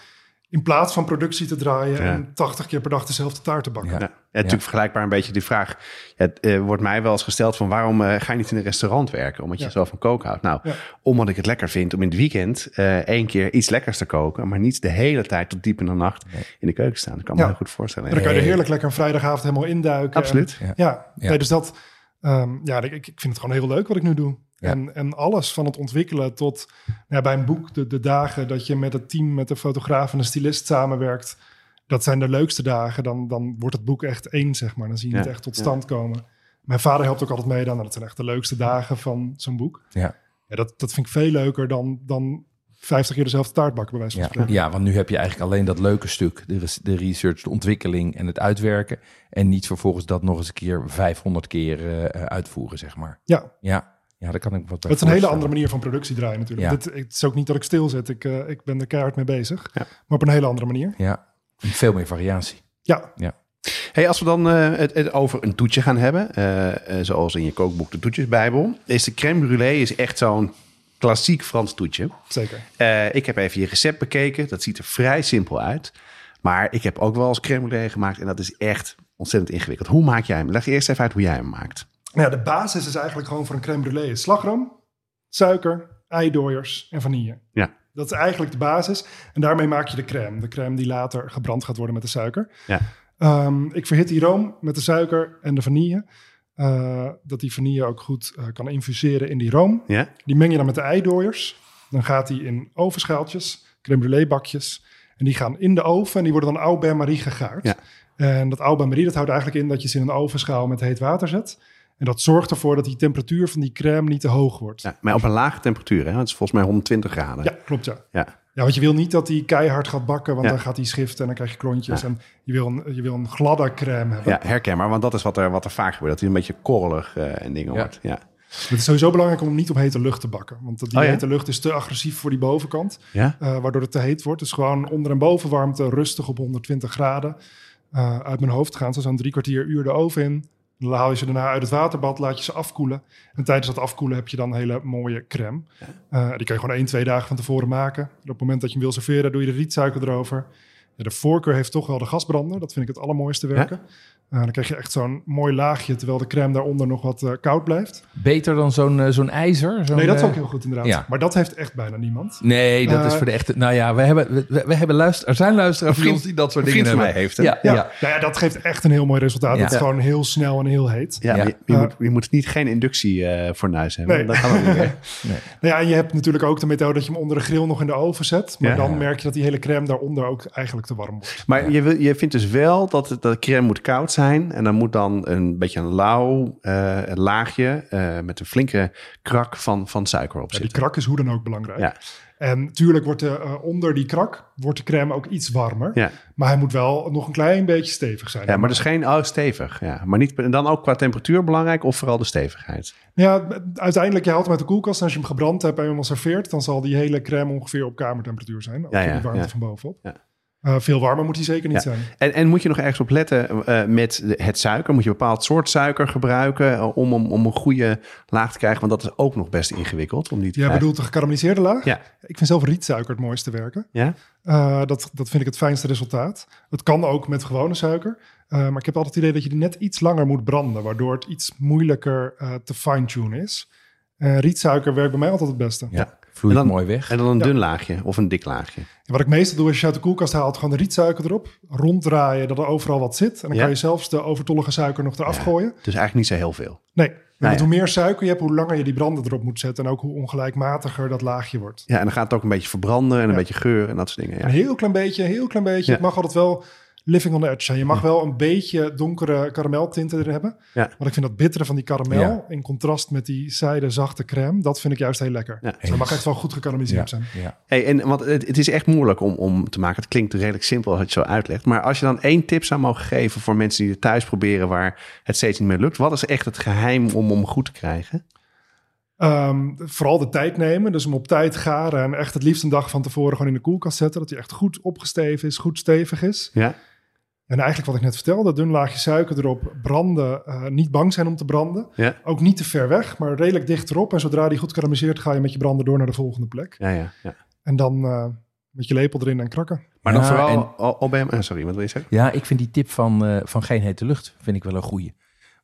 In plaats van productie te draaien Ja. en 80 keer per dag dezelfde taart te bakken. Ja. Ja. En natuurlijk vergelijkbaar een beetje die vraag. ja, Het eh, wordt mij wel eens gesteld van waarom eh, ga je niet in een restaurant werken? Omdat je Ja. zo van koken houdt. Nou, Ja. omdat ik het lekker vind om in het weekend eh, één keer iets lekkers te koken. Maar niet de hele tijd tot diep in de nacht in de keuken staan. Dat kan ik Ja. me heel goed voorstellen. En dan kan je er Nee. heerlijk lekker een vrijdagavond helemaal induiken. Absoluut. En- ja. Ja. Nee, dus dat, ehm, ja, ik, ik ik vind het gewoon heel leuk wat ik nu doe. Ja. En, en alles van het ontwikkelen tot nou ja, bij een boek, de, de dagen dat je met het team, met de fotograaf en de stylist samenwerkt. Dat zijn de leukste dagen. Dan, dan wordt het boek echt één, zeg maar. Dan zie je Ja. het echt tot stand komen. Mijn vader helpt ook altijd mee dan. en Dat zijn echt de leukste dagen van zo'n boek. Ja. Ja, dat, dat vind ik veel leuker dan, dan 50 keer dezelfde taart bakken, bij wijze van Ja, spreken. ja, want nu heb je eigenlijk alleen dat leuke stuk, de, res- de research, de ontwikkeling en het uitwerken. En niet vervolgens dat nog eens een keer 500 keer eh, eh, uitvoeren, zeg maar. Ja, Ja, ja daar kan ik wat bij Dat is een hele voorstellen. andere manier van productie draaien natuurlijk. Ja. Dit, het is ook niet dat ik stilzit. Ik, eh, ik ben er keihard mee bezig. Maar op een hele andere manier. Ja, veel meer variatie. Ja, Hey, als we dan eh, het, het over een toetje gaan hebben, eh, eh, zoals in je kookboek de toetjesbijbel, is de crème brûlée is echt zo'n klassiek Frans toetje. zeker. Eh, ik heb even je recept bekeken, dat ziet er vrij simpel uit. Maar ik heb ook wel eens crème brûlée gemaakt en dat is echt ontzettend ingewikkeld. Hoe maak jij hem? Leg eerst even uit hoe jij hem maakt. Nou ja, de basis is eigenlijk gewoon voor een crème brûlée. is Slagroom, suiker, eidooiers en vanille. Ja. Dat is eigenlijk de basis. En daarmee maak je de crème. De crème die later gebrand gaat worden met de suiker. Ja. Ehm, ik verhit die room met de suiker en de vanille. Eh, dat die vanille ook goed eh, kan infuseren in die room. Ja? Die meng je dan met de eidooiers. Dan gaat die in ovenschaaltjes, crème brûlée bakjes. En die gaan in de oven en die worden dan au bain-marie gegaard. Ja. En dat au bain-marie, dat houdt eigenlijk in dat je ze in een ovenschaal met heet water zet. En dat zorgt ervoor dat die temperatuur van die crème niet te hoog wordt. Ja, Ja, maar op een lage temperatuur, hè? Het is volgens mij 120 graden. klopt ja. Ja. Ja, want je wil niet dat die keihard gaat bakken, want Ja. dan gaat die schiften en dan krijg je klontjes. Ja. En je wil, een, je wil een gladde crème hebben. Ja, herkenbaar, want dat is wat er, wat er vaak gebeurt. Dat hij een beetje korrelig eh, en dingen Ja. wordt. Ja. Het is sowieso belangrijk om hem niet op hete lucht te bakken. Want die Oh, ja? hete lucht is te agressief voor die bovenkant. Ja? eh, waardoor het te heet wordt. Dus gewoon onder- en bovenwarmte, rustig op 120 graden. eh, uit mijn hoofd gaan ze zo'n drie kwartier uur de oven in. Dan haal je ze daarna uit het waterbad, laat je ze afkoelen. En tijdens dat afkoelen heb je dan een hele mooie crème. Eh, die kan je gewoon één, twee dagen van tevoren maken. En op het moment dat je hem wil serveren, doe je de rietsuiker erover. Ja, de voorkeur heeft toch wel de gasbrander. Dat vind ik het allermooiste werken. Eh, dan krijg je echt zo'n mooi laagje, terwijl de crème daaronder nog wat eh, koud blijft. Beter dan zo'n eh, zo'n ijzer? zo'n, Nee, dat is eh, ook heel goed inderdaad. ja. Maar dat heeft echt bijna niemand. Nee, dat is Eh, voor de echte... Nou ja, we hebben, we- we, we hebben luister, er zijn luisteraars van Vriend- ons die dat soort Een dingen vriend van hebben. mij heeft hem. ja, Ja. ja. Nou ja, dat geeft echt een heel mooi resultaat. Ja. Dat het gewoon heel snel en heel heet. Ja, maar Ja. Je, je Ja. moet, je moet niet geen inductie eh fornuis hebben. Nee. Dat kan ook niet meer. Nou ja, en je hebt natuurlijk ook de methode dat je hem onder de grill nog in de oven zet. Maar Ja. dan merk je dat die hele crème daaronder ook eigenlijk te warm wordt. Maar je, wil, je vindt dus wel dat het- dat de crème moet koud zijn. En dan moet dan een beetje een lauw eh, een laagje eh, met een flinke krak van, van suiker op Ja, die zitten. krak is hoe dan ook belangrijk. Ja. En natuurlijk wordt de, eh, onder die krak wordt de crème ook iets warmer. Ja, Maar hij moet wel nog een klein beetje stevig zijn. ja, maar dus geen oh, stevig. Ja. Maar niet, en dan ook qua temperatuur belangrijk of vooral de stevigheid? Nou Ja, uiteindelijk, je haalt hem uit de koelkast. En als je hem gebrand hebt en hem al serveert, dan zal die hele crème ongeveer op kamertemperatuur zijn. Ook Ja, door ja, die warmte ja. van bovenop. Ja. Eh, veel warmer moet hij zeker niet Ja. zijn. En, en moet je nog ergens op letten eh, met de- het suiker? Moet je een bepaald soort suiker gebruiken eh, om, om, om een goede laag te krijgen? Want dat is ook nog best ingewikkeld om die te Jij krijgen. bedoelt de gekarameliseerde laag? Ja. Ik vind zelf rietsuiker het mooiste werken. Ja? Eh, dat, dat vind ik het fijnste resultaat. Het kan ook met gewone suiker. Eh, maar ik heb altijd het idee dat je die net iets langer moet branden, waardoor het iets moeilijker eh, te fine-tune is. Eh, rietsuiker werkt bij mij altijd het beste. Ja, vloeit En dan- mooi weg. En dan een Ja. dun laagje of een dik laagje. En wat ik meestal doe, als je uit de koelkast haalt, gewoon de rietsuiker erop, ronddraaien, dat er overal wat zit. En dan Ja. kan je zelfs de overtollige suiker nog eraf Ja. gooien. Dus eigenlijk niet zo heel veel. Nee, want Nou ja. hoe meer suiker je hebt, hoe langer je die branden erop moet zetten. En ook hoe ongelijkmatiger dat laagje wordt. Ja, en dan gaat het ook een beetje verbranden en een Ja. beetje geur en dat soort dingen. Ja. Een heel klein beetje, een heel klein beetje. Ja. Het mag altijd wel living on the edge zijn. Je mag wel een beetje donkere karameltinten erin hebben. Ja. Want ik vind dat bittere van die karamel Ja. in contrast met die zijde zachte crème, dat vind ik juist heel lekker. Ja. Dus dat mag echt wel goed gekarameliseerd zijn. ja. Hey, en, want het, het is echt moeilijk om, om te maken. Het klinkt redelijk simpel als je het zo uitlegt. Maar als je dan één tip zou mogen geven voor mensen die het thuis proberen waar het steeds niet meer lukt. Wat is echt het geheim om hem goed te krijgen? Ehm, vooral de tijd nemen, dus hem op tijd garen en echt het liefst een dag van tevoren gewoon in de koelkast zetten, dat hij echt goed opgesteven is, goed stevig is. Ja, En eigenlijk wat ik net vertelde, dun laagje suiker erop, branden, eh, niet bang zijn om te branden. ja, Ook niet te ver weg, maar redelijk dicht erop. En zodra die goed karameliseert, ga je met je brander door naar de volgende plek. ja, ja. ja. En dan eh, met je lepel erin en krakken. Maar dan Ja, vooral Nou, en- al, al bij hem. ah, sorry, wat wil je zeggen? Ja, ik vind die tip van, eh, van geen hete lucht vind ik wel een goeie.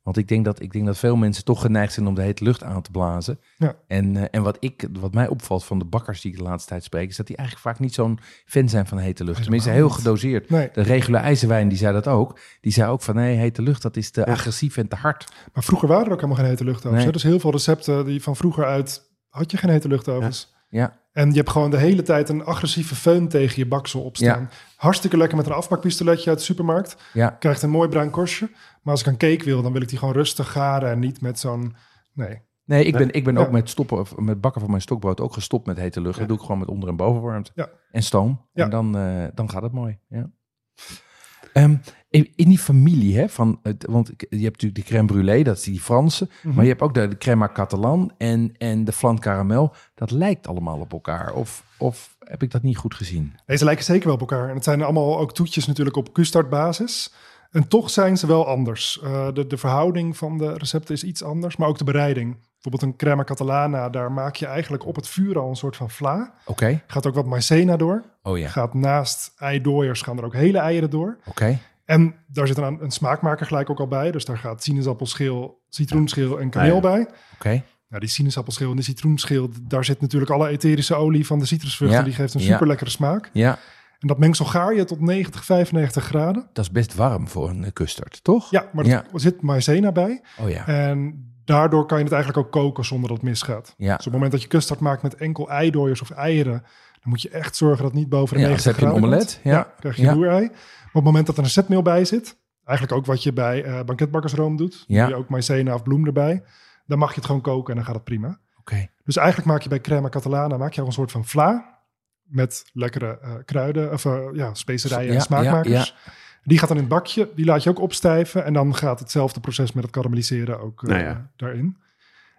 Want ik denk, dat, ik denk dat veel mensen toch geneigd zijn om de hete lucht aan te blazen. Ja. En, eh, en wat, ik, wat mij opvalt van de bakkers die ik de laatste tijd spreek... is dat die eigenlijk vaak niet zo'n fan zijn van hete lucht. Tenminste, heel gedoseerd. Nee, De reguliere ijzerwijn, die zei dat ook. Die zei ook van, nee, hete lucht, dat is te agressief en te hard. maar vroeger waren er ook helemaal geen hete luchtovens. Nee. hè? Dus heel veel recepten die van vroeger uit had je geen hete luchtovens. Ja, En je hebt gewoon de hele tijd een agressieve föhn tegen je baksel opstaan. Hartstikke lekker met een afpakpistoletje uit de supermarkt. ja. Krijgt een mooi bruin korstje. Maar als ik een cake wil, dan wil ik die gewoon rustig garen en niet met zo'n... Nee, Nee, ik ben, ik ben Ja. ook met, stoppen, of met bakken van mijn stokbrood ook gestopt met hete lucht. Dat doe ik gewoon met onder- en bovenwarmte. Ja. En stoom. Ja. En dan, eh, dan gaat het mooi. Ja. Ehm, in, in die familie, hè, van het, want ik- je hebt natuurlijk de crème brûlée, dat is die Franse. Mhm. Maar je hebt ook de, de crème à catalan en, en de flan caramel. Dat lijkt allemaal op elkaar. Of, of heb ik dat niet goed gezien? Deze lijken zeker wel op elkaar. En het zijn allemaal ook toetjes natuurlijk op Q-start-basis. En toch zijn ze wel anders. Eh, de, de verhouding van de recepten is iets anders, maar ook de bereiding. Bijvoorbeeld een crema catalana, daar maak je eigenlijk op het vuur al een soort van vla. Oké. Gaat ook wat maïzena door. Oh ja, Gaat naast eidooiers gaan er ook hele eieren door. oké. En daar zit een, een smaakmaker gelijk ook al bij. Dus daar gaat sinaasappelschil, citroenschil en kaneel Ah, Ja. bij. Oké. Nou, die sinaasappelschil en die citroenschil, daar zit natuurlijk alle etherische olie van de citrusvruchten. Ja. Die geeft een Ja. super lekkere smaak. Ja, En dat mengsel gaar je tot 90, 95 graden. dat is best warm voor een eh, custard, toch? Ja, maar er Ja. zit maïzena bij. Oh ja. En daardoor kan je het eigenlijk ook koken zonder dat het misgaat. Ja. Dus op het moment dat je custard maakt met enkel eidooiers of eieren... dan moet je echt zorgen dat het niet boven de Ja, 90 dus heb je een graden omelet, komt. ja. krijg je Ja. een roerei. Maar op het moment dat er een zetmeel bij zit... eigenlijk ook wat je bij eh, banketbakkersroom doet... Ja. doe je ook maïzena of bloem erbij... dan mag je het gewoon koken en dan gaat het prima. Oké. Dus eigenlijk maak je bij crema catalana maak je al een soort van vla met lekkere eh, kruiden of eh, ja, specerijen Ja, en smaakmakers. Die gaat dan in het bakje, die laat je ook opstijven en dan gaat hetzelfde proces met het karamelliseren ook eh, Nou ja. daarin.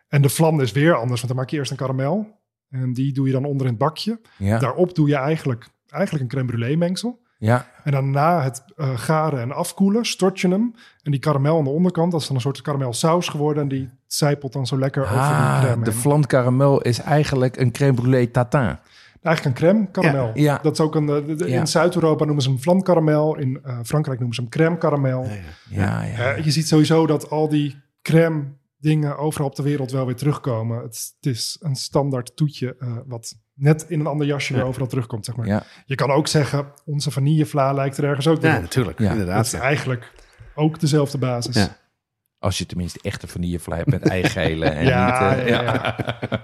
En de vlam is weer anders, want dan maak je eerst een karamel en die doe je dan onder in het bakje. Ja. Daarop doe je eigenlijk, eigenlijk een crème brûlée mengsel. ja. En dan na het eh, garen en afkoelen stort je hem. En die karamel aan de onderkant, dat is dan een soort karamelsaus geworden. En die zijpelt dan zo lekker over die Ah, crème de heen. flan caramel is eigenlijk een crème brûlée tatin. Eigenlijk een crème karamel. Ja, ja. Dat is ook een, eh, de- de- Ja. In Zuid-Europa noemen ze hem vlam karamel. In eh, Frankrijk noemen ze hem crème karamel. Ja, ja. Eh, je ziet sowieso dat al die crème dingen overal op de wereld wel weer terugkomen. Het, is- het is een standaard toetje eh, wat net in een ander jasje weer overal terugkomt. Zeg maar. Ja. Je kan ook zeggen, onze vanillevla lijkt er ergens ook weer Ja, op. natuurlijk. Ja. Dat Inderdaad. is ja. eigenlijk ook dezelfde basis. Ja. Als je tenminste echte vanillevla hebt met eigelen. En Ja, niet, eh, ja, ja.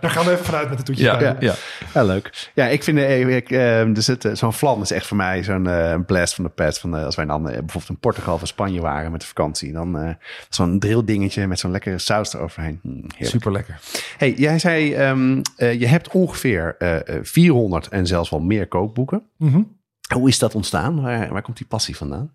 Daar gaan we even vanuit met de toetje. Ja, ja. Ja, leuk. Ja, ik vind eh, ik, eh, dus het, eh, zo'n vlam is echt voor mij zo'n eh, blast van de pet. Van, eh, als wij dan eh, bijvoorbeeld in Portugal of in Spanje waren met de vakantie. Dan eh, zo'n drilldingetje met zo'n lekkere saus eroverheen. Hm, heerlijk. Super lekker. Hey, jij zei, ehm, eh, je hebt ongeveer eh, eh, 400 en zelfs wel meer kookboeken. Mhm. Hoe is dat ontstaan? Waar, waar komt die passie vandaan?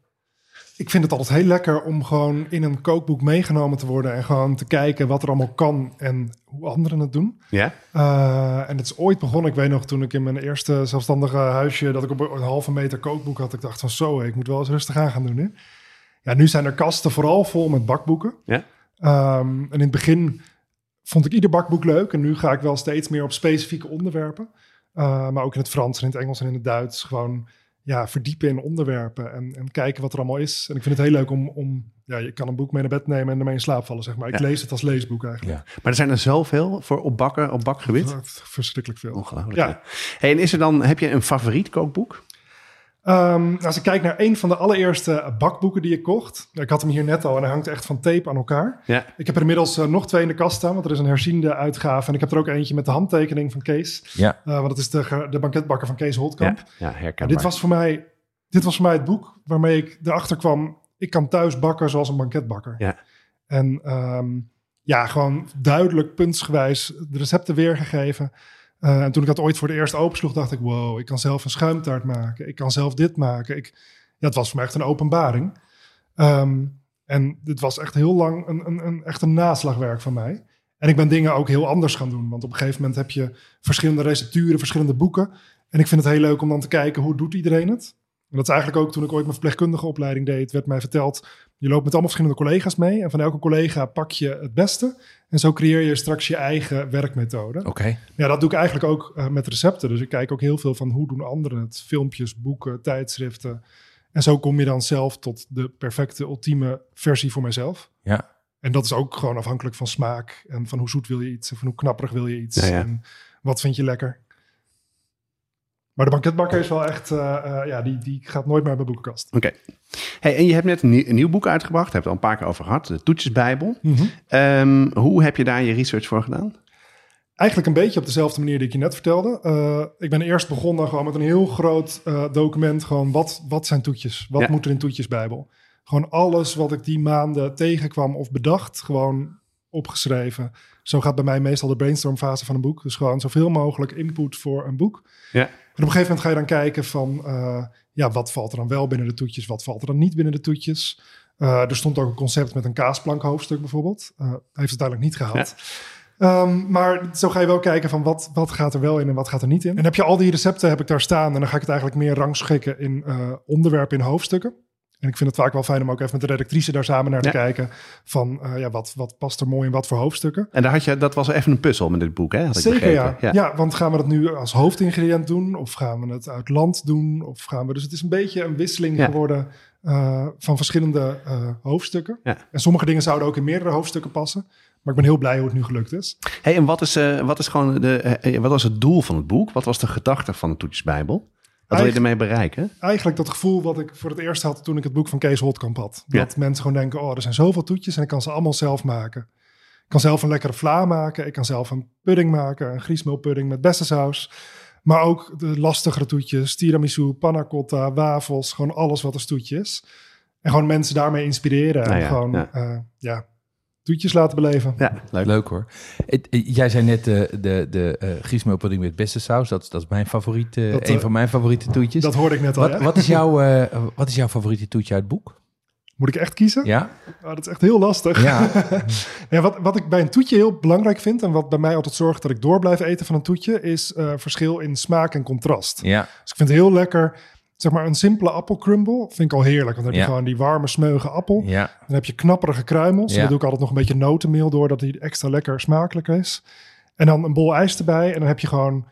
Ik vind het altijd heel lekker om gewoon in een kookboek meegenomen te worden en gewoon te kijken wat er allemaal kan en hoe anderen het doen. Ja? Eh, en het is ooit begonnen, ik weet nog, toen ik in mijn eerste zelfstandige huisje, dat ik op een halve meter kookboek had. Ik dacht van zo, ik moet wel eens rustig aan gaan doen nu. Ja, nu zijn er kasten vooral vol met bakboeken. Ja. Ehm, en in het begin vond ik ieder bakboek leuk en nu ga ik wel steeds meer op specifieke onderwerpen. Eh, maar ook in het Frans en in het Engels en in het Duits gewoon ja, verdiepen in onderwerpen en, en kijken wat er allemaal is. En ik vind het heel leuk om, om ja, je kan een boek mee naar bed nemen en ermee in slaap vallen, zeg maar. Ik Ja. lees het als leesboek eigenlijk. Maar er zijn er zoveel voor op, bakken, op bakgebied. Dat is Verschrikkelijk veel. Ongelooflijk. Ja. hè? Hey, en is er dan, heb je een favoriet kookboek? Ehm, als ik kijk naar een van de allereerste bakboeken die ik kocht. Ik had hem hier net al en hij hangt echt van tape aan elkaar. Ja. Ik heb er inmiddels eh, nog twee in de kast staan, want er is een herziende uitgave. En ik heb er ook eentje met de handtekening van Kees. Ja. Eh, want dat is de, ge- de banketbakker van Kees Holtkamp. Ja, ja herkenbaar. dit was voor mij dit was voor mij het boek waarmee ik erachter kwam. Ik kan thuis bakken zoals een banketbakker. Ja. En ehm, ja, gewoon duidelijk puntsgewijs de recepten weergegeven. Eh, en toen ik dat ooit voor het eerst opensloeg, dacht ik: wow, ik kan zelf een schuimtaart maken. Ik kan zelf dit maken. Ik, ja, het was voor mij echt een openbaring. Ehm, en dit was echt heel lang een, een, een, echt een naslagwerk van mij. En ik ben dingen ook heel anders gaan doen. Want op een gegeven moment heb je verschillende recepturen, verschillende boeken. En ik vind het heel leuk om dan te kijken hoe doet iedereen het. En dat is eigenlijk ook toen ik ooit mijn verpleegkundige opleiding deed, werd mij verteld, je loopt met allemaal verschillende collega's mee. En van elke collega pak je het beste. En zo creëer je straks je eigen werkmethode. Oké. Ja, dat doe ik eigenlijk ook eh, met recepten. Dus ik kijk ook heel veel van hoe doen anderen het. Filmpjes, boeken, tijdschriften. En zo kom je dan zelf tot de perfecte, ultieme versie voor mijzelf. Ja. En dat is ook gewoon afhankelijk van smaak. En van hoe zoet wil je iets. En van hoe knapperig wil je iets. Ja, ja. En wat vind je lekker. Maar de banketbakker is wel echt... eh, eh, ja, die, die gaat nooit meer bij de boekenkast. Oké. Hey, en je hebt net een, nieuw- een nieuw boek uitgebracht. Daar hebben we het al een paar keer over gehad. De Toetjesbijbel. Ehm, hoe heb je daar je research voor gedaan? Eigenlijk een beetje op dezelfde manier die ik je net vertelde. Eh, ik ben eerst begonnen gewoon met een heel groot eh, document. Gewoon wat, wat zijn toetjes? Wat Ja. moet er in toetjesbijbel? Gewoon alles wat ik die maanden tegenkwam of bedacht, gewoon opgeschreven. Zo gaat bij mij meestal de brainstormfase van een boek. Dus gewoon zoveel mogelijk input voor een boek. Ja. En op een gegeven moment ga je dan kijken van... eh, ja, wat valt er dan wel binnen de toetjes? Wat valt er dan niet binnen de toetjes? Eh, er stond ook een concept met een kaasplank hoofdstuk bijvoorbeeld. Eh, hij heeft het uiteindelijk niet gehaald. Ehm, maar zo ga je wel kijken van wat, wat gaat er wel in en wat gaat er niet in. En heb je al die recepten heb ik daar staan. En dan ga ik het eigenlijk meer rangschikken in eh, onderwerpen in hoofdstukken. En ik vind het vaak wel fijn om ook even met de redactrice daar samen naar te Ja. kijken. Van eh, ja, wat, wat past er mooi in wat voor hoofdstukken. En daar had je, dat was even een puzzel met dit boek, hè? Had ik Zeker, begrepen. ja. ja. want gaan we dat nu als hoofdingrediënt doen? Of gaan we het uit land doen? Of gaan we... Dus het is een beetje een wisseling Ja. geworden eh, van verschillende eh, hoofdstukken. Ja. En sommige dingen zouden ook in meerdere hoofdstukken passen. Maar ik ben heel blij hoe het nu gelukt is. Hey, en wat is, eh, wat, is gewoon de, eh, wat was het doel van het boek? Wat was de gedachte van de Toetjesbijbel? Wat wil je Eigen- ermee bereiken? Eigenlijk dat gevoel wat ik voor het eerst had toen ik het boek van Kees Holtkamp had. Ja. Dat mensen gewoon denken, oh, er zijn zoveel toetjes en ik kan ze allemaal zelf maken. Ik kan zelf een lekkere vla maken. Ik kan zelf een pudding maken. Een griesmeelpudding met bessensaus. Maar ook de lastigere toetjes. Tiramisu, panna cotta, wafels. Gewoon alles wat een toetje is. En gewoon mensen daarmee inspireren. Nou en ja, gewoon, ja. eh, ja, toetjes laten beleven. Ja, leuk. Leuk hoor. Het- eh, Jij zei net de, de, de eh griesmeelpudding met bessensaus. Dat, is- dat is mijn favoriete, Dat, eh, een van mijn favoriete toetjes. Dat hoorde ik net al. wat, ja. wat, is jouw, eh, wat is jouw favoriete toetje uit het boek? Moet ik echt kiezen? Ja? Oh, dat is echt heel lastig. Ja. Ja, wat, wat ik bij een toetje heel belangrijk vind... en wat bij mij altijd zorgt dat ik door blijf eten van een toetje... is eh, verschil in smaak en contrast. Ja. Dus ik vind het heel lekker... zeg maar een simpele appelcrumble vind ik al heerlijk. Want dan heb je Ja. gewoon die warme, smeuige appel. Ja. Dan heb je knapperige kruimels. Ja. Dan doe ik altijd nog een beetje notenmeel door... dat die extra lekker smakelijk is. En dan een bol ijs erbij. En dan heb je gewoon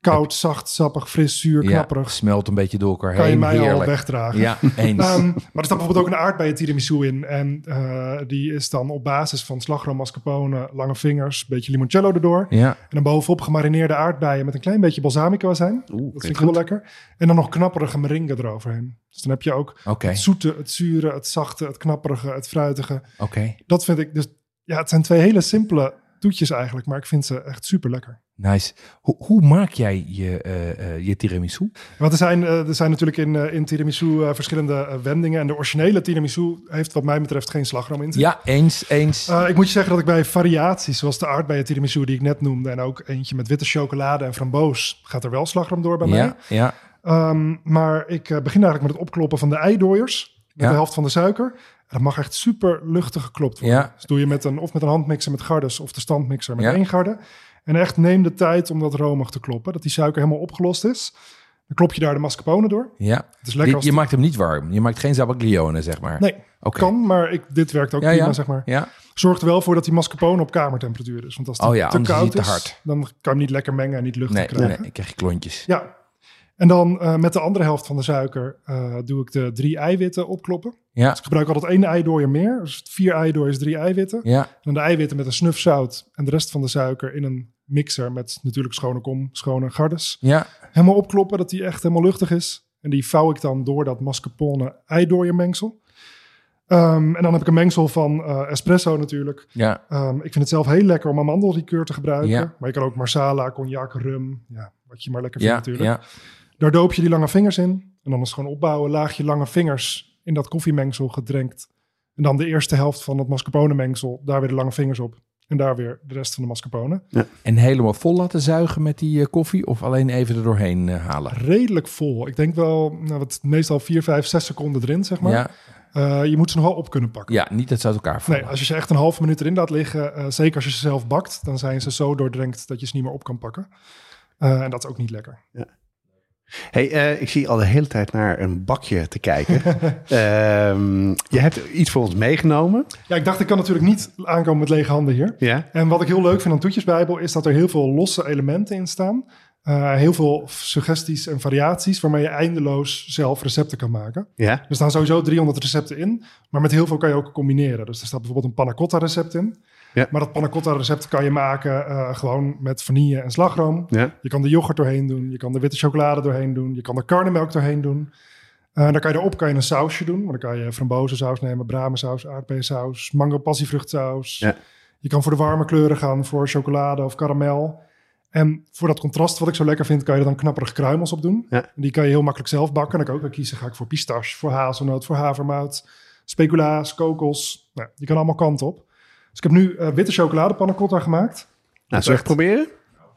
koud, zacht, sappig, fris, zuur, ja. knapperig. Smelt een beetje door elkaar Kan je heen. mij al Heerlijk. wegdragen. Ja, eens. Ehm, maar er staat bijvoorbeeld ook een aardbeien tiramisu in. En eh, die is dan op basis van slagroom, mascarpone, lange vingers, beetje limoncello erdoor. ja. En dan bovenop gemarineerde aardbeien met een klein beetje balsamico zijn. Oeh, Dat klinkt vind ik goed. heel lekker. En dan nog knapperige meringue eroverheen. Dus dan heb je ook Oké. het zoete, het zure, het zachte, het knapperige, het fruitige. Oké. Dat vind ik dus... Ja, het zijn twee hele simpele toetjes eigenlijk, maar ik vind ze echt super lekker. Nice. Hoe, hoe maak jij je, eh, eh, je tiramisu? Want er zijn, eh, er zijn natuurlijk in, eh, in tiramisu eh, verschillende eh, wendingen. En de originele tiramisu heeft wat mij betreft geen slagroom in zitten. Ja, eens, eens. Eh, ik moet je zeggen dat ik bij variaties, zoals de aardbeien tiramisu die ik net noemde... en ook eentje met witte chocolade en framboos, gaat er wel slagroom door bij mij. ja, ja. Ehm, maar ik eh, begin eigenlijk met het opkloppen van de eidooiers. Met Ja. de helft van de suiker. En dat mag echt super luchtig geklopt worden. Ja. Dus doe je met een, of met een handmixer met gardes of de standmixer met Ja. één garde. En echt neem de tijd om dat romig te kloppen. Dat die suiker helemaal opgelost is. Dan klop je daar de mascarpone door. ja. Het is Je, lekker als je het- maakt hem niet warm. Je maakt geen zabaglione, zeg maar. Nee, Oké. kan, maar ik, dit werkt ook Ja, prima, ja. zeg maar. Ja, Zorg er wel voor dat die mascarpone op kamertemperatuur is. Want als die Oh ja, te anders is koud die is, te hard. dan kan je hem niet lekker mengen en niet luchtig nee, krijgen. nee, ik krijg je klontjes. Ja. En dan eh, met de andere helft van de suiker eh, doe ik de drie eiwitten opkloppen. Ja, Dus ik gebruik altijd één eidooier meer. Dus vier eidooiers, drie eiwitten. ja, En dan de eiwitten met een snuf zout en de rest van de suiker in een mixer met natuurlijk schone kom, schone gardes. ja. Helemaal opkloppen, dat die echt helemaal luchtig is. En die vouw ik dan door dat mascarpone eidooiermengsel. Ehm, en dan heb ik een mengsel van eh, espresso natuurlijk. ja. Ehm, ik vind het zelf heel lekker om amandellikeur te gebruiken. Ja. Maar je kan ook marsala, cognac, rum. Ja, wat je maar lekker Ja, vindt natuurlijk. ja, Daar doop je die lange vingers in. En dan is het gewoon opbouwen, laagje lange vingers in dat koffiemengsel gedrenkt. En dan de eerste helft van dat mascarpone mengsel, daar weer de lange vingers op. En daar weer de rest van de mascarpone. En helemaal vol laten zuigen met die eh, koffie of alleen even er doorheen eh, halen? Redelijk vol. Ik denk wel, nou, wat meestal 4, 5, 6 seconden erin, zeg maar. ja, Eh, je moet ze nog wel op kunnen pakken. ja, niet dat ze uit elkaar vallen. Nee, als je ze echt een halve minuut erin laat liggen, eh, zeker als je ze zelf bakt, dan zijn ze zo doordrenkt dat je ze niet meer op kan pakken. Eh, en dat is ook niet lekker. Hey, eh, ik zie al de hele tijd naar een bakje te kijken. Ehm, je hebt iets voor ons meegenomen. Ja, ik dacht, ik kan natuurlijk niet aankomen met lege handen hier. Ja. En wat ik heel leuk vind aan Toetjesbijbel is dat er heel veel losse elementen in staan. Eh, heel veel suggesties en variaties waarmee je eindeloos zelf recepten kan maken. Ja. Er staan sowieso 300 recepten in, maar met heel veel kan je ook combineren. Dus er staat bijvoorbeeld een panna cotta recept in. Ja. Maar dat panna cotta recept kan je maken eh, gewoon met vanille en slagroom. Ja. Nou, Je kan de yoghurt doorheen doen, je kan de witte chocolade doorheen doen, je kan de karnemelk doorheen doen. Eh dan kan je erop kan je een sausje doen. Want dan kan je frambozensaus nemen, bramensaus, aardbeiensaus, mango passievruchtsaus. Ja. Je kan voor de warme kleuren gaan, voor chocolade of karamel. En voor dat contrast wat ik zo lekker vind, kan je er dan knapperig kruimels op doen. Ja. En die kan je heel makkelijk zelf bakken. Dan kan je ook weer kiezen, ga ik voor pistache, voor hazelnoot, voor havermout, speculaas, kokos. Nou, je kan allemaal kanten op. Dus ik heb nu eh, witte chocoladepannencotta gemaakt. Nou, zullen we even proberen?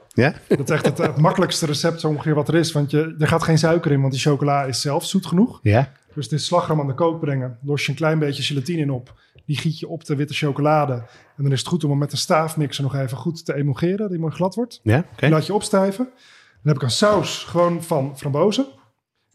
Ja? Dat is echt het, het makkelijkste recept zo ongeveer wat er is. Want je, er gaat geen suiker in, want die chocola is zelf zoet genoeg. Ja. Dus het is slagroom aan de kook brengen. Los je een klein beetje gelatine in op. Die giet je op de witte chocolade. En dan is het goed om hem met een staafmixer nog even goed te emulgeren. Dat hij mooi glad wordt. Ja? Oké. Die laat je opstijven. Dan heb ik een saus gewoon van frambozen.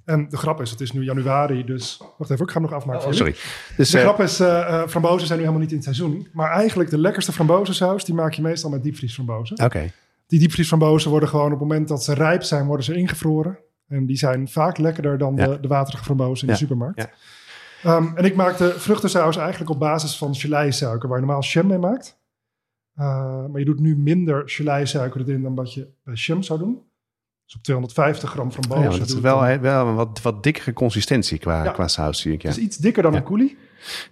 En de grap is, het is nu januari, dus... Wacht even, ik ga hem nog afmaken. voor jullie. Sorry. Dus, Oh, De eh, grap is, eh, eh, frambozen zijn nu helemaal niet in het seizoen. Maar eigenlijk de lekkerste frambozensaus, die maak je meestal met diepvriesframbozen. Oké. Die diepvriesframbozen worden gewoon op het moment dat ze rijp zijn, worden ze ingevroren. En die zijn vaak lekkerder dan Ja. de, de waterige frambozen in Ja. de supermarkt. Ja. Ehm, en ik maak de vruchtensaus eigenlijk op basis van geleizuiker, waar je normaal jam mee maakt. Eh, maar je doet nu minder geleizuiker erin dan wat je bij jam zou doen. Dus op 250 gram Oh Ja, frambozen. maar dat is doe ik wel, dan- hè, wel een wat, wat dikkere consistentie qua, Ja. Dus qua saus, zie ik. Ja. Het is iets dikker dan Ja. een coulis.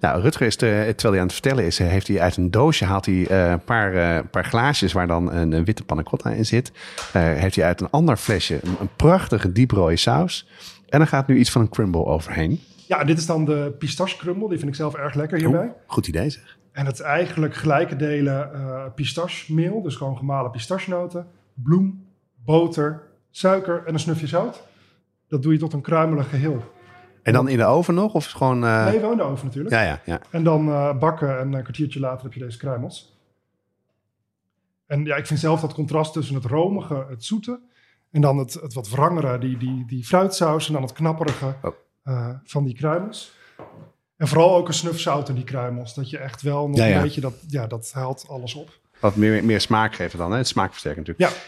Nou, Rutger is, te- terwijl hij aan het vertellen is, eh, heeft hij uit een doosje haalt hij, eh, een paar, eh, een paar glaasjes waar dan een, een witte panna cotta in zit. Eh, heeft hij uit een ander flesje een, een prachtige dieprode saus. En dan gaat nu iets van een crumble overheen. Ja, en dit is dan de pistachecrummel. Die vind ik zelf erg Oh. lekker hierbij. Goed idee zeg. En het is eigenlijk gelijke delen eh pistachemeel, dus gewoon gemalen pistachenoten, bloem, boter, suiker en een snufje zout. Dat doe je tot een kruimelig geheel. En dan in de oven nog? Of gewoon... eh, Nee, wel in de oven natuurlijk. Ja, ja, ja. En dan eh, bakken en een kwartiertje later heb je deze kruimels. En ja, ik vind zelf dat contrast tussen het romige, het zoete... en dan het, het wat wrangere, die, die, die fruitsaus... en dan het knapperige Oh. eh, van die kruimels. En vooral ook een snuf zout in die kruimels. Dat je echt wel nog Ja, ja. een beetje... Dat, ja, dat haalt alles op. Wat meer, meer smaak geven dan. Hè? Het smaakversterkt natuurlijk. Ja.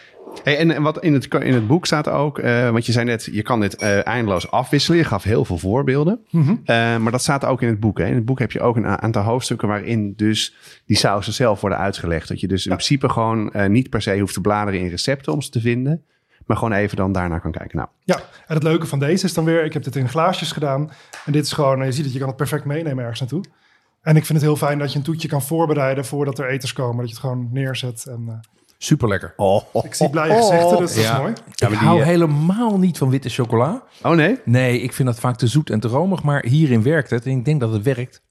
Hey, en, en wat in het, in het boek staat ook... eh, want je zei net, je kan dit eh, eindeloos afwisselen. Je gaf heel veel voorbeelden. Mhm. Eh, maar dat staat ook in het boek. Hè? In het boek heb je ook een a- aantal hoofdstukken waarin dus die sausen zelf worden uitgelegd. Dat je dus in principe gewoon eh, niet per se hoeft te bladeren in recepten om ze te vinden. Maar gewoon even dan daarnaar kan kijken. Nou, Ja, en het leuke van deze is dan weer, ik heb dit in glaasjes gedaan. En dit is gewoon, eh, je ziet het, je kan het perfect meenemen ergens naartoe. En ik vind het heel fijn dat je een toetje kan voorbereiden voordat er eters komen. Dat je het gewoon neerzet. En, eh, Super lekker. oh, ik zie blije gezichten, dus dat Ja. is mooi. ik maar die, hou eh, helemaal niet van witte chocola. oh nee? Nee, ik vind dat vaak te zoet en te romig. Maar hierin werkt het. En ik denk dat het werkt.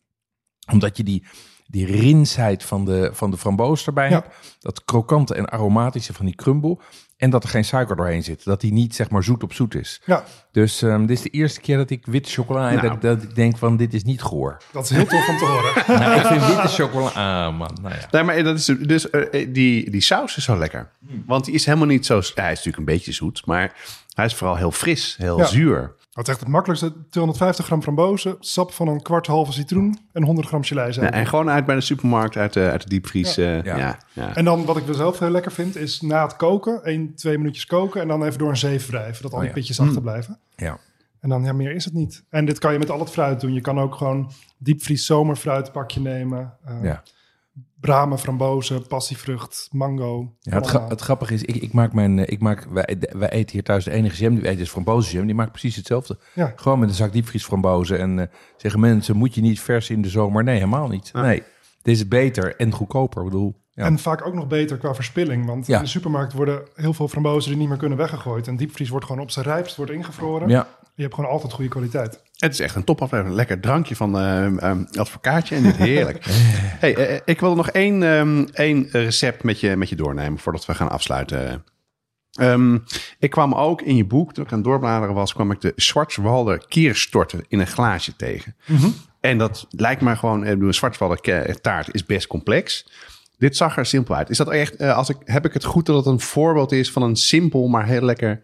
Omdat je die, die rinsheid van de, van de framboos erbij Ja. hebt. Dat krokante en aromatische van die crumble. En dat er geen suiker doorheen zit. Dat die niet zeg maar zoet op zoet is. Ja, Dus ehm, dit is de eerste keer dat ik witte chocola... en Nou. dat, dat ik denk van dit is niet goor. dat is heel tof om te horen. nou, ik vind witte chocola... Ah man, nou ja. Nee, maar dat is dus eh, die, die saus is zo lekker. Want die is helemaal niet zo. ja, hij is natuurlijk een beetje zoet, maar hij is vooral heel fris, heel Ja. zuur. Dat is echt het makkelijkste. 250 gram frambozen, sap van een kwart halve citroen en 100 gram Ja, chalijzuiker. en gewoon uit bij de supermarkt, uit de, uit de diepvries. eh, Ja. Ja. ja, En dan wat ik wel zelf heel lekker vind, is na het koken, 1, 2 minuutjes koken en dan even door een zeef wrijven. Dat al die ja. pitjes achterblijven. ja. En dan, ja, meer is het niet. En dit kan je met al het fruit doen. Je kan ook gewoon diepvries zomerfruitpakje nemen. eh, Ja. Bramen, frambozen, passievrucht, mango. Ja, het, gra- banaan. het grappige is, ik, ik maak mijn, eh, ik maak, wij, de- wij eten hier thuis de enige jam die we eten is frambozenjam. Die maakt precies hetzelfde. Ja. Gewoon met een zak diepvriesframbozen. En eh, zeggen mensen, moet je niet vers in de zomer? Nee, helemaal niet. Nee, dit is beter en goedkoper. Ik bedoel, Ja. En vaak ook nog beter qua verspilling. Want Ja. in de supermarkt worden heel veel frambozen die niet meer kunnen weggegooid. En diepvries wordt gewoon op zijn rijpst wordt ingevroren. Ja, Je hebt gewoon altijd goede kwaliteit. Het is echt een topaflevering. Lekker drankje van ehm ehm, advocaatje en dit heerlijk. hey, eh, ik wil nog één, ehm, één recept met je, met je doornemen voordat we gaan afsluiten. Ehm, ik kwam ook in je boek, toen ik aan het doorbladeren was, kwam ik de Schwarzwalder kierstorten in een glaasje tegen. En dat lijkt mij gewoon, eh, ik bedoel, een Schwarzwalder ke- taart is best complex. Dit zag er simpel uit. Is dat echt, eh, als ik, heb ik het goed dat het een voorbeeld is van een simpel, maar heel lekker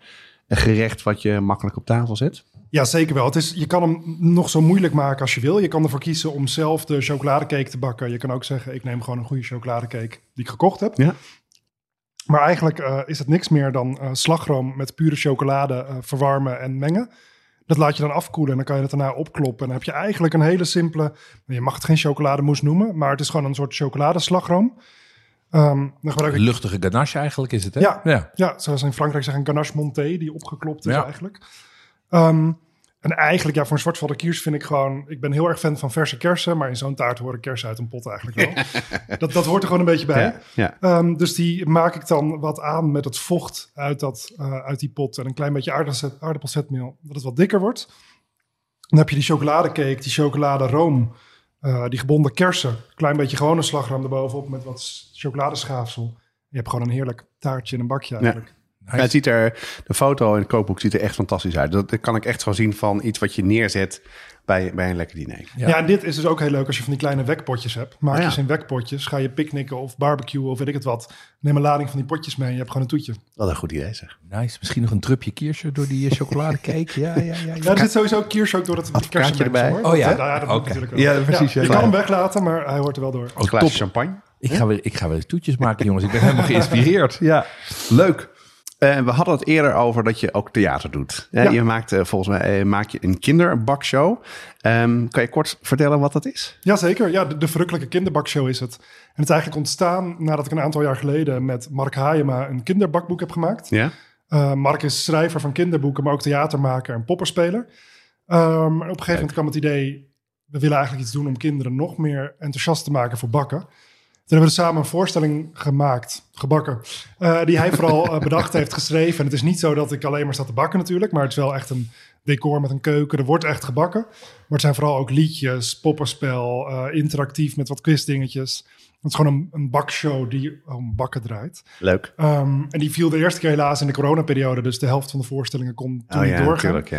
eh, gerecht wat je makkelijk op tafel zet? Ja, zeker wel. Het is, je kan hem nog zo moeilijk maken als je wil. Je kan ervoor kiezen om zelf de chocoladecake te bakken. Je kan ook zeggen, ik neem gewoon een goede chocoladecake die ik gekocht heb. Ja. Maar eigenlijk eh, is het niks meer dan eh, slagroom met pure chocolade eh, verwarmen en mengen. Dat laat je dan afkoelen en dan kan je dat daarna opkloppen. En dan heb je eigenlijk een hele simpele, je mag het geen chocolademousse noemen, maar het is gewoon een soort chocoladeslagroom. Ehm dan gebruik ik luchtige ganache eigenlijk is het, hè? Ja. ja. ja, zoals ze in Frankrijk zeggen, ganache monté, die opgeklopt is Ja. eigenlijk. Ehm, en eigenlijk, ja, voor een zwartvallen kiers vind ik gewoon... Ik ben heel erg fan van verse kersen, maar in zo'n taart horen kersen uit een pot eigenlijk wel. dat, dat hoort er gewoon een beetje bij. Ja, ja. Ehm, dus die maak ik dan wat aan met het vocht uit, dat, eh, uit die pot. En een klein beetje aardappelzet- aardappelzetmeel, dat het wat dikker wordt. Dan heb je die chocoladecake, die chocoladeroom, eh, die gebonden kersen. Klein beetje gewone slagroom erbovenop met wat s- chocoladeschaafsel. Je hebt gewoon een heerlijk taartje in een bakje eigenlijk. Ja, het ziet er, de foto in het kookboek ziet er echt fantastisch uit. Dat, dat kan ik echt gewoon zien van iets wat je neerzet bij, bij een lekker diner. Ja. Ja. en dit is dus ook heel leuk als je van die kleine wekpotjes hebt. Maak Oh Ja. je ze in wekpotjes, ga je picknicken of barbecuen of weet ik het wat. Neem een lading van die potjes mee en je hebt gewoon een toetje. Wat een goed idee zeg. Nice. Misschien nog een drupje kiersje door die eh, chocoladecake. ja, ja, ja. Ja, er zit sowieso kiers ook door het Advocaatje kersenmengsel, erbij. hoor. Oh ja? Dat- dat moet Oké. natuurlijk wel. Ja, precies, ja. je Ja. kan hem weglaten, maar hij hoort er wel door. Een glaasje champagne. Ik ga, weer, ik ga weer toetjes maken, jongens. Ik ben helemaal geïnspireerd. Ja, leuk. Eh, we hadden het eerder over dat je ook theater doet. Eh, Ja. Je maakt eh, volgens mij eh, maak je een kinderbakshow. Ehm, kan je kort vertellen wat dat is? Jazeker, ja, de, de verrukkelijke kinderbakshow is het. En het is eigenlijk ontstaan nadat ik een aantal jaar geleden met Mark Haaiema een kinderbakboek heb gemaakt. Ja. Eh, Mark is schrijver van kinderboeken, maar ook theatermaker en popperspeler. Ehm, en op een gegeven moment kwam het idee, we willen eigenlijk iets doen om kinderen nog meer enthousiast te maken voor bakken. Toen hebben we samen een voorstelling gemaakt, gebakken, eh, die hij vooral eh, bedacht heeft geschreven. En het is niet zo dat ik alleen maar sta te bakken natuurlijk, maar het is wel echt een decor met een keuken. Er wordt echt gebakken, maar het zijn vooral ook liedjes, popperspel, eh, interactief met wat quizdingetjes. Het is gewoon een, een bakshow die om bakken draait. Leuk. Ehm, en die viel de eerste keer helaas in de coronaperiode. Dus de helft van de voorstellingen kon toen Oh niet ja, doorgaan. natuurlijk.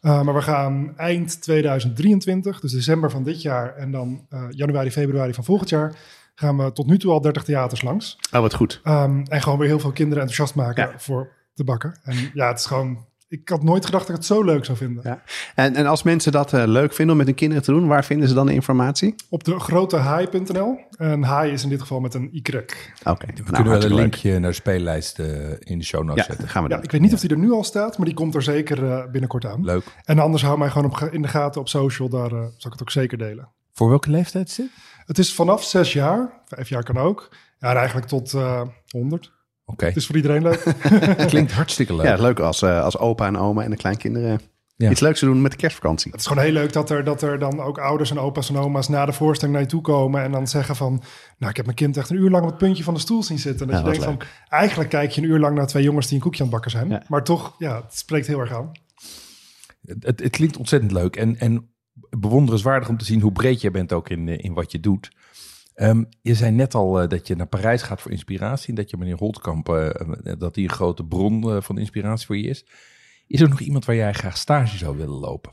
Ja. Eh, maar we gaan eind 2023, dus december van dit jaar... en dan eh, januari, februari van volgend jaar... gaan we tot nu toe al 30 theaters langs. Oh, wat goed. Ehm, en gewoon weer heel veel kinderen enthousiast maken Ja. voor de bakken. En ja, het is gewoon... Ik had nooit gedacht dat ik het zo leuk zou vinden. Ja. En, en als mensen dat eh, leuk vinden om met hun kinderen te doen, waar vinden ze dan de informatie? Op de grotehai.nl. En haai is in dit geval met een Y. Oké. Nou, We kunnen wel een linkje naar de speellijst eh, in de show notes Oh, Ja, zetten. gaan we Ja, doen. ik weet niet of die er nu al staat, maar die komt er zeker eh, binnenkort aan. Leuk. En anders hou mij gewoon op, ge- in de gaten op social, daar eh, zal ik het ook zeker delen. Voor welke leeftijd is dit? Het is vanaf zes jaar, vijf jaar kan ook, ja, en eigenlijk tot eh, honderd. Oké, het is voor iedereen leuk. het klinkt hartstikke leuk. Ja, leuk als, eh, als opa en oma en de kleinkinderen Ja. iets leuks te doen met de kerstvakantie. het is gewoon heel leuk dat er, dat er dan ook ouders en opa's en oma's na de voorstelling naar je toe komen en dan zeggen van, nou ik heb mijn kind echt een uur lang op het puntje van de stoel zien zitten. En dat Ja, je wat denkt van, eigenlijk kijk je een uur lang naar twee jongens die een koekje aan het bakken zijn. Ja. Maar toch, ja, het spreekt heel erg aan. Het, het, het klinkt ontzettend leuk en, en bewonderenswaardig om te zien hoe breed jij bent ook in, eh, in wat je doet. Ehm, je zei net al eh, dat je naar Parijs gaat voor inspiratie en dat je meneer Holtkamp, eh, eh, dat die een grote bron eh, van inspiratie voor je is. Is er nog iemand waar jij graag stage zou willen lopen?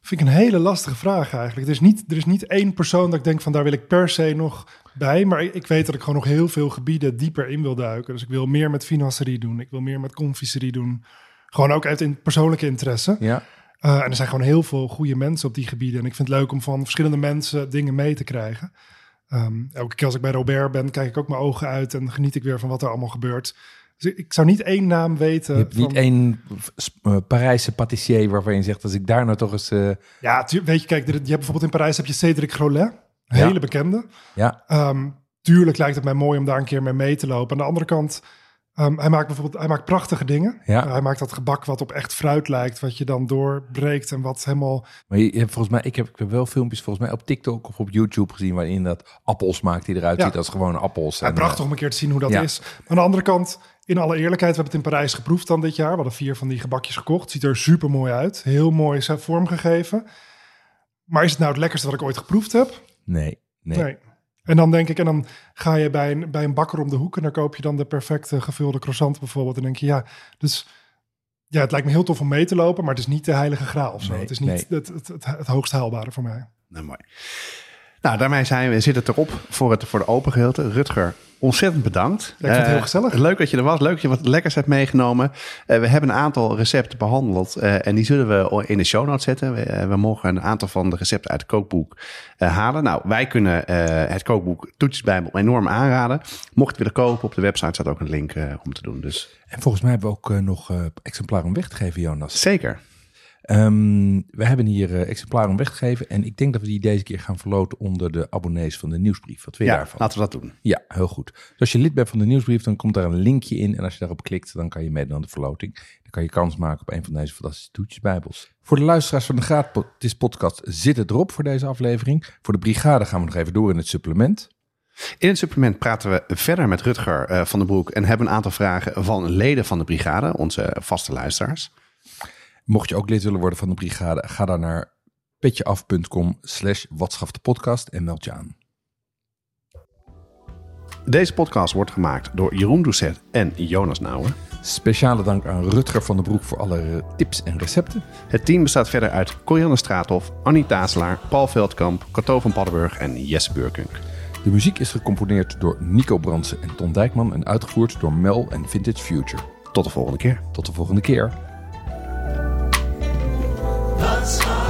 Vind ik een hele lastige vraag eigenlijk. Er is, niet, er is niet één persoon dat ik denk van daar wil ik per se nog bij. Maar ik, ik weet dat ik gewoon nog heel veel gebieden dieper in wil duiken. Dus ik wil meer met financiërie doen. Ik wil meer met confiserie doen. Gewoon ook uit in persoonlijke interesse. Ja, Eh, en er zijn gewoon heel veel goede mensen op die gebieden. En ik vind het leuk om van verschillende mensen dingen mee te krijgen. Ehm, elke keer als ik bij Robert ben, kijk ik ook mijn ogen uit en geniet ik weer van wat er allemaal gebeurt. Dus ik, ik zou niet één naam weten. je hebt van- niet één eh, Parijse patissier waarvan je zegt, als ik daar nou toch eens... eh, Ja, tu- weet je, kijk, er- je hebt bijvoorbeeld in Parijs heb je Cédric Grolet, een Ja. hele bekende. ja, Ehm, tuurlijk lijkt het mij mooi om daar een keer mee mee te lopen. Aan de andere kant, Ehm, hij maakt bijvoorbeeld hij maakt prachtige dingen. Ja. Uh, hij maakt dat gebak wat op echt fruit lijkt, wat je dan doorbreekt en wat helemaal. Maar je hebt volgens mij, ik heb, ik heb wel filmpjes volgens mij op TikTok of op YouTube gezien waarin dat appels maakt die eruit Ja. ziet als gewone appels. Hij En, bracht eh, toch om een keer te zien hoe dat ja. is. Aan de andere kant, in alle eerlijkheid, we hebben het in Parijs geproefd dan dit jaar. We hadden vier van die gebakjes gekocht. Ziet er super mooi uit. Heel mooi zijn vormgegeven. Maar is het nou het lekkerste wat ik ooit geproefd heb? Nee, nee. Nee. En dan denk ik, en dan ga je bij een, bij een bakker om de hoek en dan koop je dan de perfecte gevulde croissant bijvoorbeeld. En denk je, ja, dus ja, het lijkt me heel tof om mee te lopen, maar het is niet de heilige graal of zo. Nee, het is niet nee. het, het, het, het hoogst haalbare voor mij. Nou, mooi. Nou, daarmee zijn we, zit het erop voor het, voor de open gedeelte. Rutger, ontzettend bedankt. Ja, ik vond het heel Eh, gezellig. Leuk dat je er was. Leuk dat je wat lekkers hebt meegenomen. Eh, we hebben een aantal recepten behandeld. eh, en die zullen we in de show notes zetten. We, eh, we mogen een aantal van de recepten uit het kookboek eh, halen. Nou, wij kunnen eh, het kookboek Toetjesbijbel enorm aanraden. Mocht je het willen kopen, op de website staat ook een link eh, om te doen. Dus En volgens mij hebben we ook eh, nog eh, exemplaren om weg te geven, Jonas. zeker. Ehm, we hebben hier eh, exemplaren om weg te geven. En ik denk dat we die deze keer gaan verloten onder de abonnees van de nieuwsbrief. Wat vind je Ja, daarvan? laten we dat doen. Ja, heel goed. Dus als je lid bent van de nieuwsbrief, dan komt daar een linkje in. En als je daarop klikt, dan kan je meedoen aan de verloting. Dan kan je kans maken op een van deze fantastische toetjesbijbels. Voor de luisteraars van de Gratis Podcast zit het erop voor deze aflevering. Voor de brigade gaan we nog even door in het supplement. In het supplement praten we verder met Rutger eh, van den Broek en hebben een aantal vragen van leden van de brigade, onze eh, vaste luisteraars. Mocht je ook lid willen worden van de brigade, ga dan naar petjeaf.com slash podcast en meld je aan. Deze podcast wordt gemaakt door Jeroen Doucet en Jonas Nouwen. Speciale dank aan Rutger van den Broek voor alle eh, tips en recepten. Het team bestaat verder uit Corianne Straathof, Annie Tazelaar, Paul Veldkamp, Cato van Paddenburg en Jesse Beurkink. De muziek is gecomponeerd door Nico Brandsen en Ton Dijkman en uitgevoerd door Mel en Vintage Future. Tot de volgende keer. Tot de volgende keer. That's how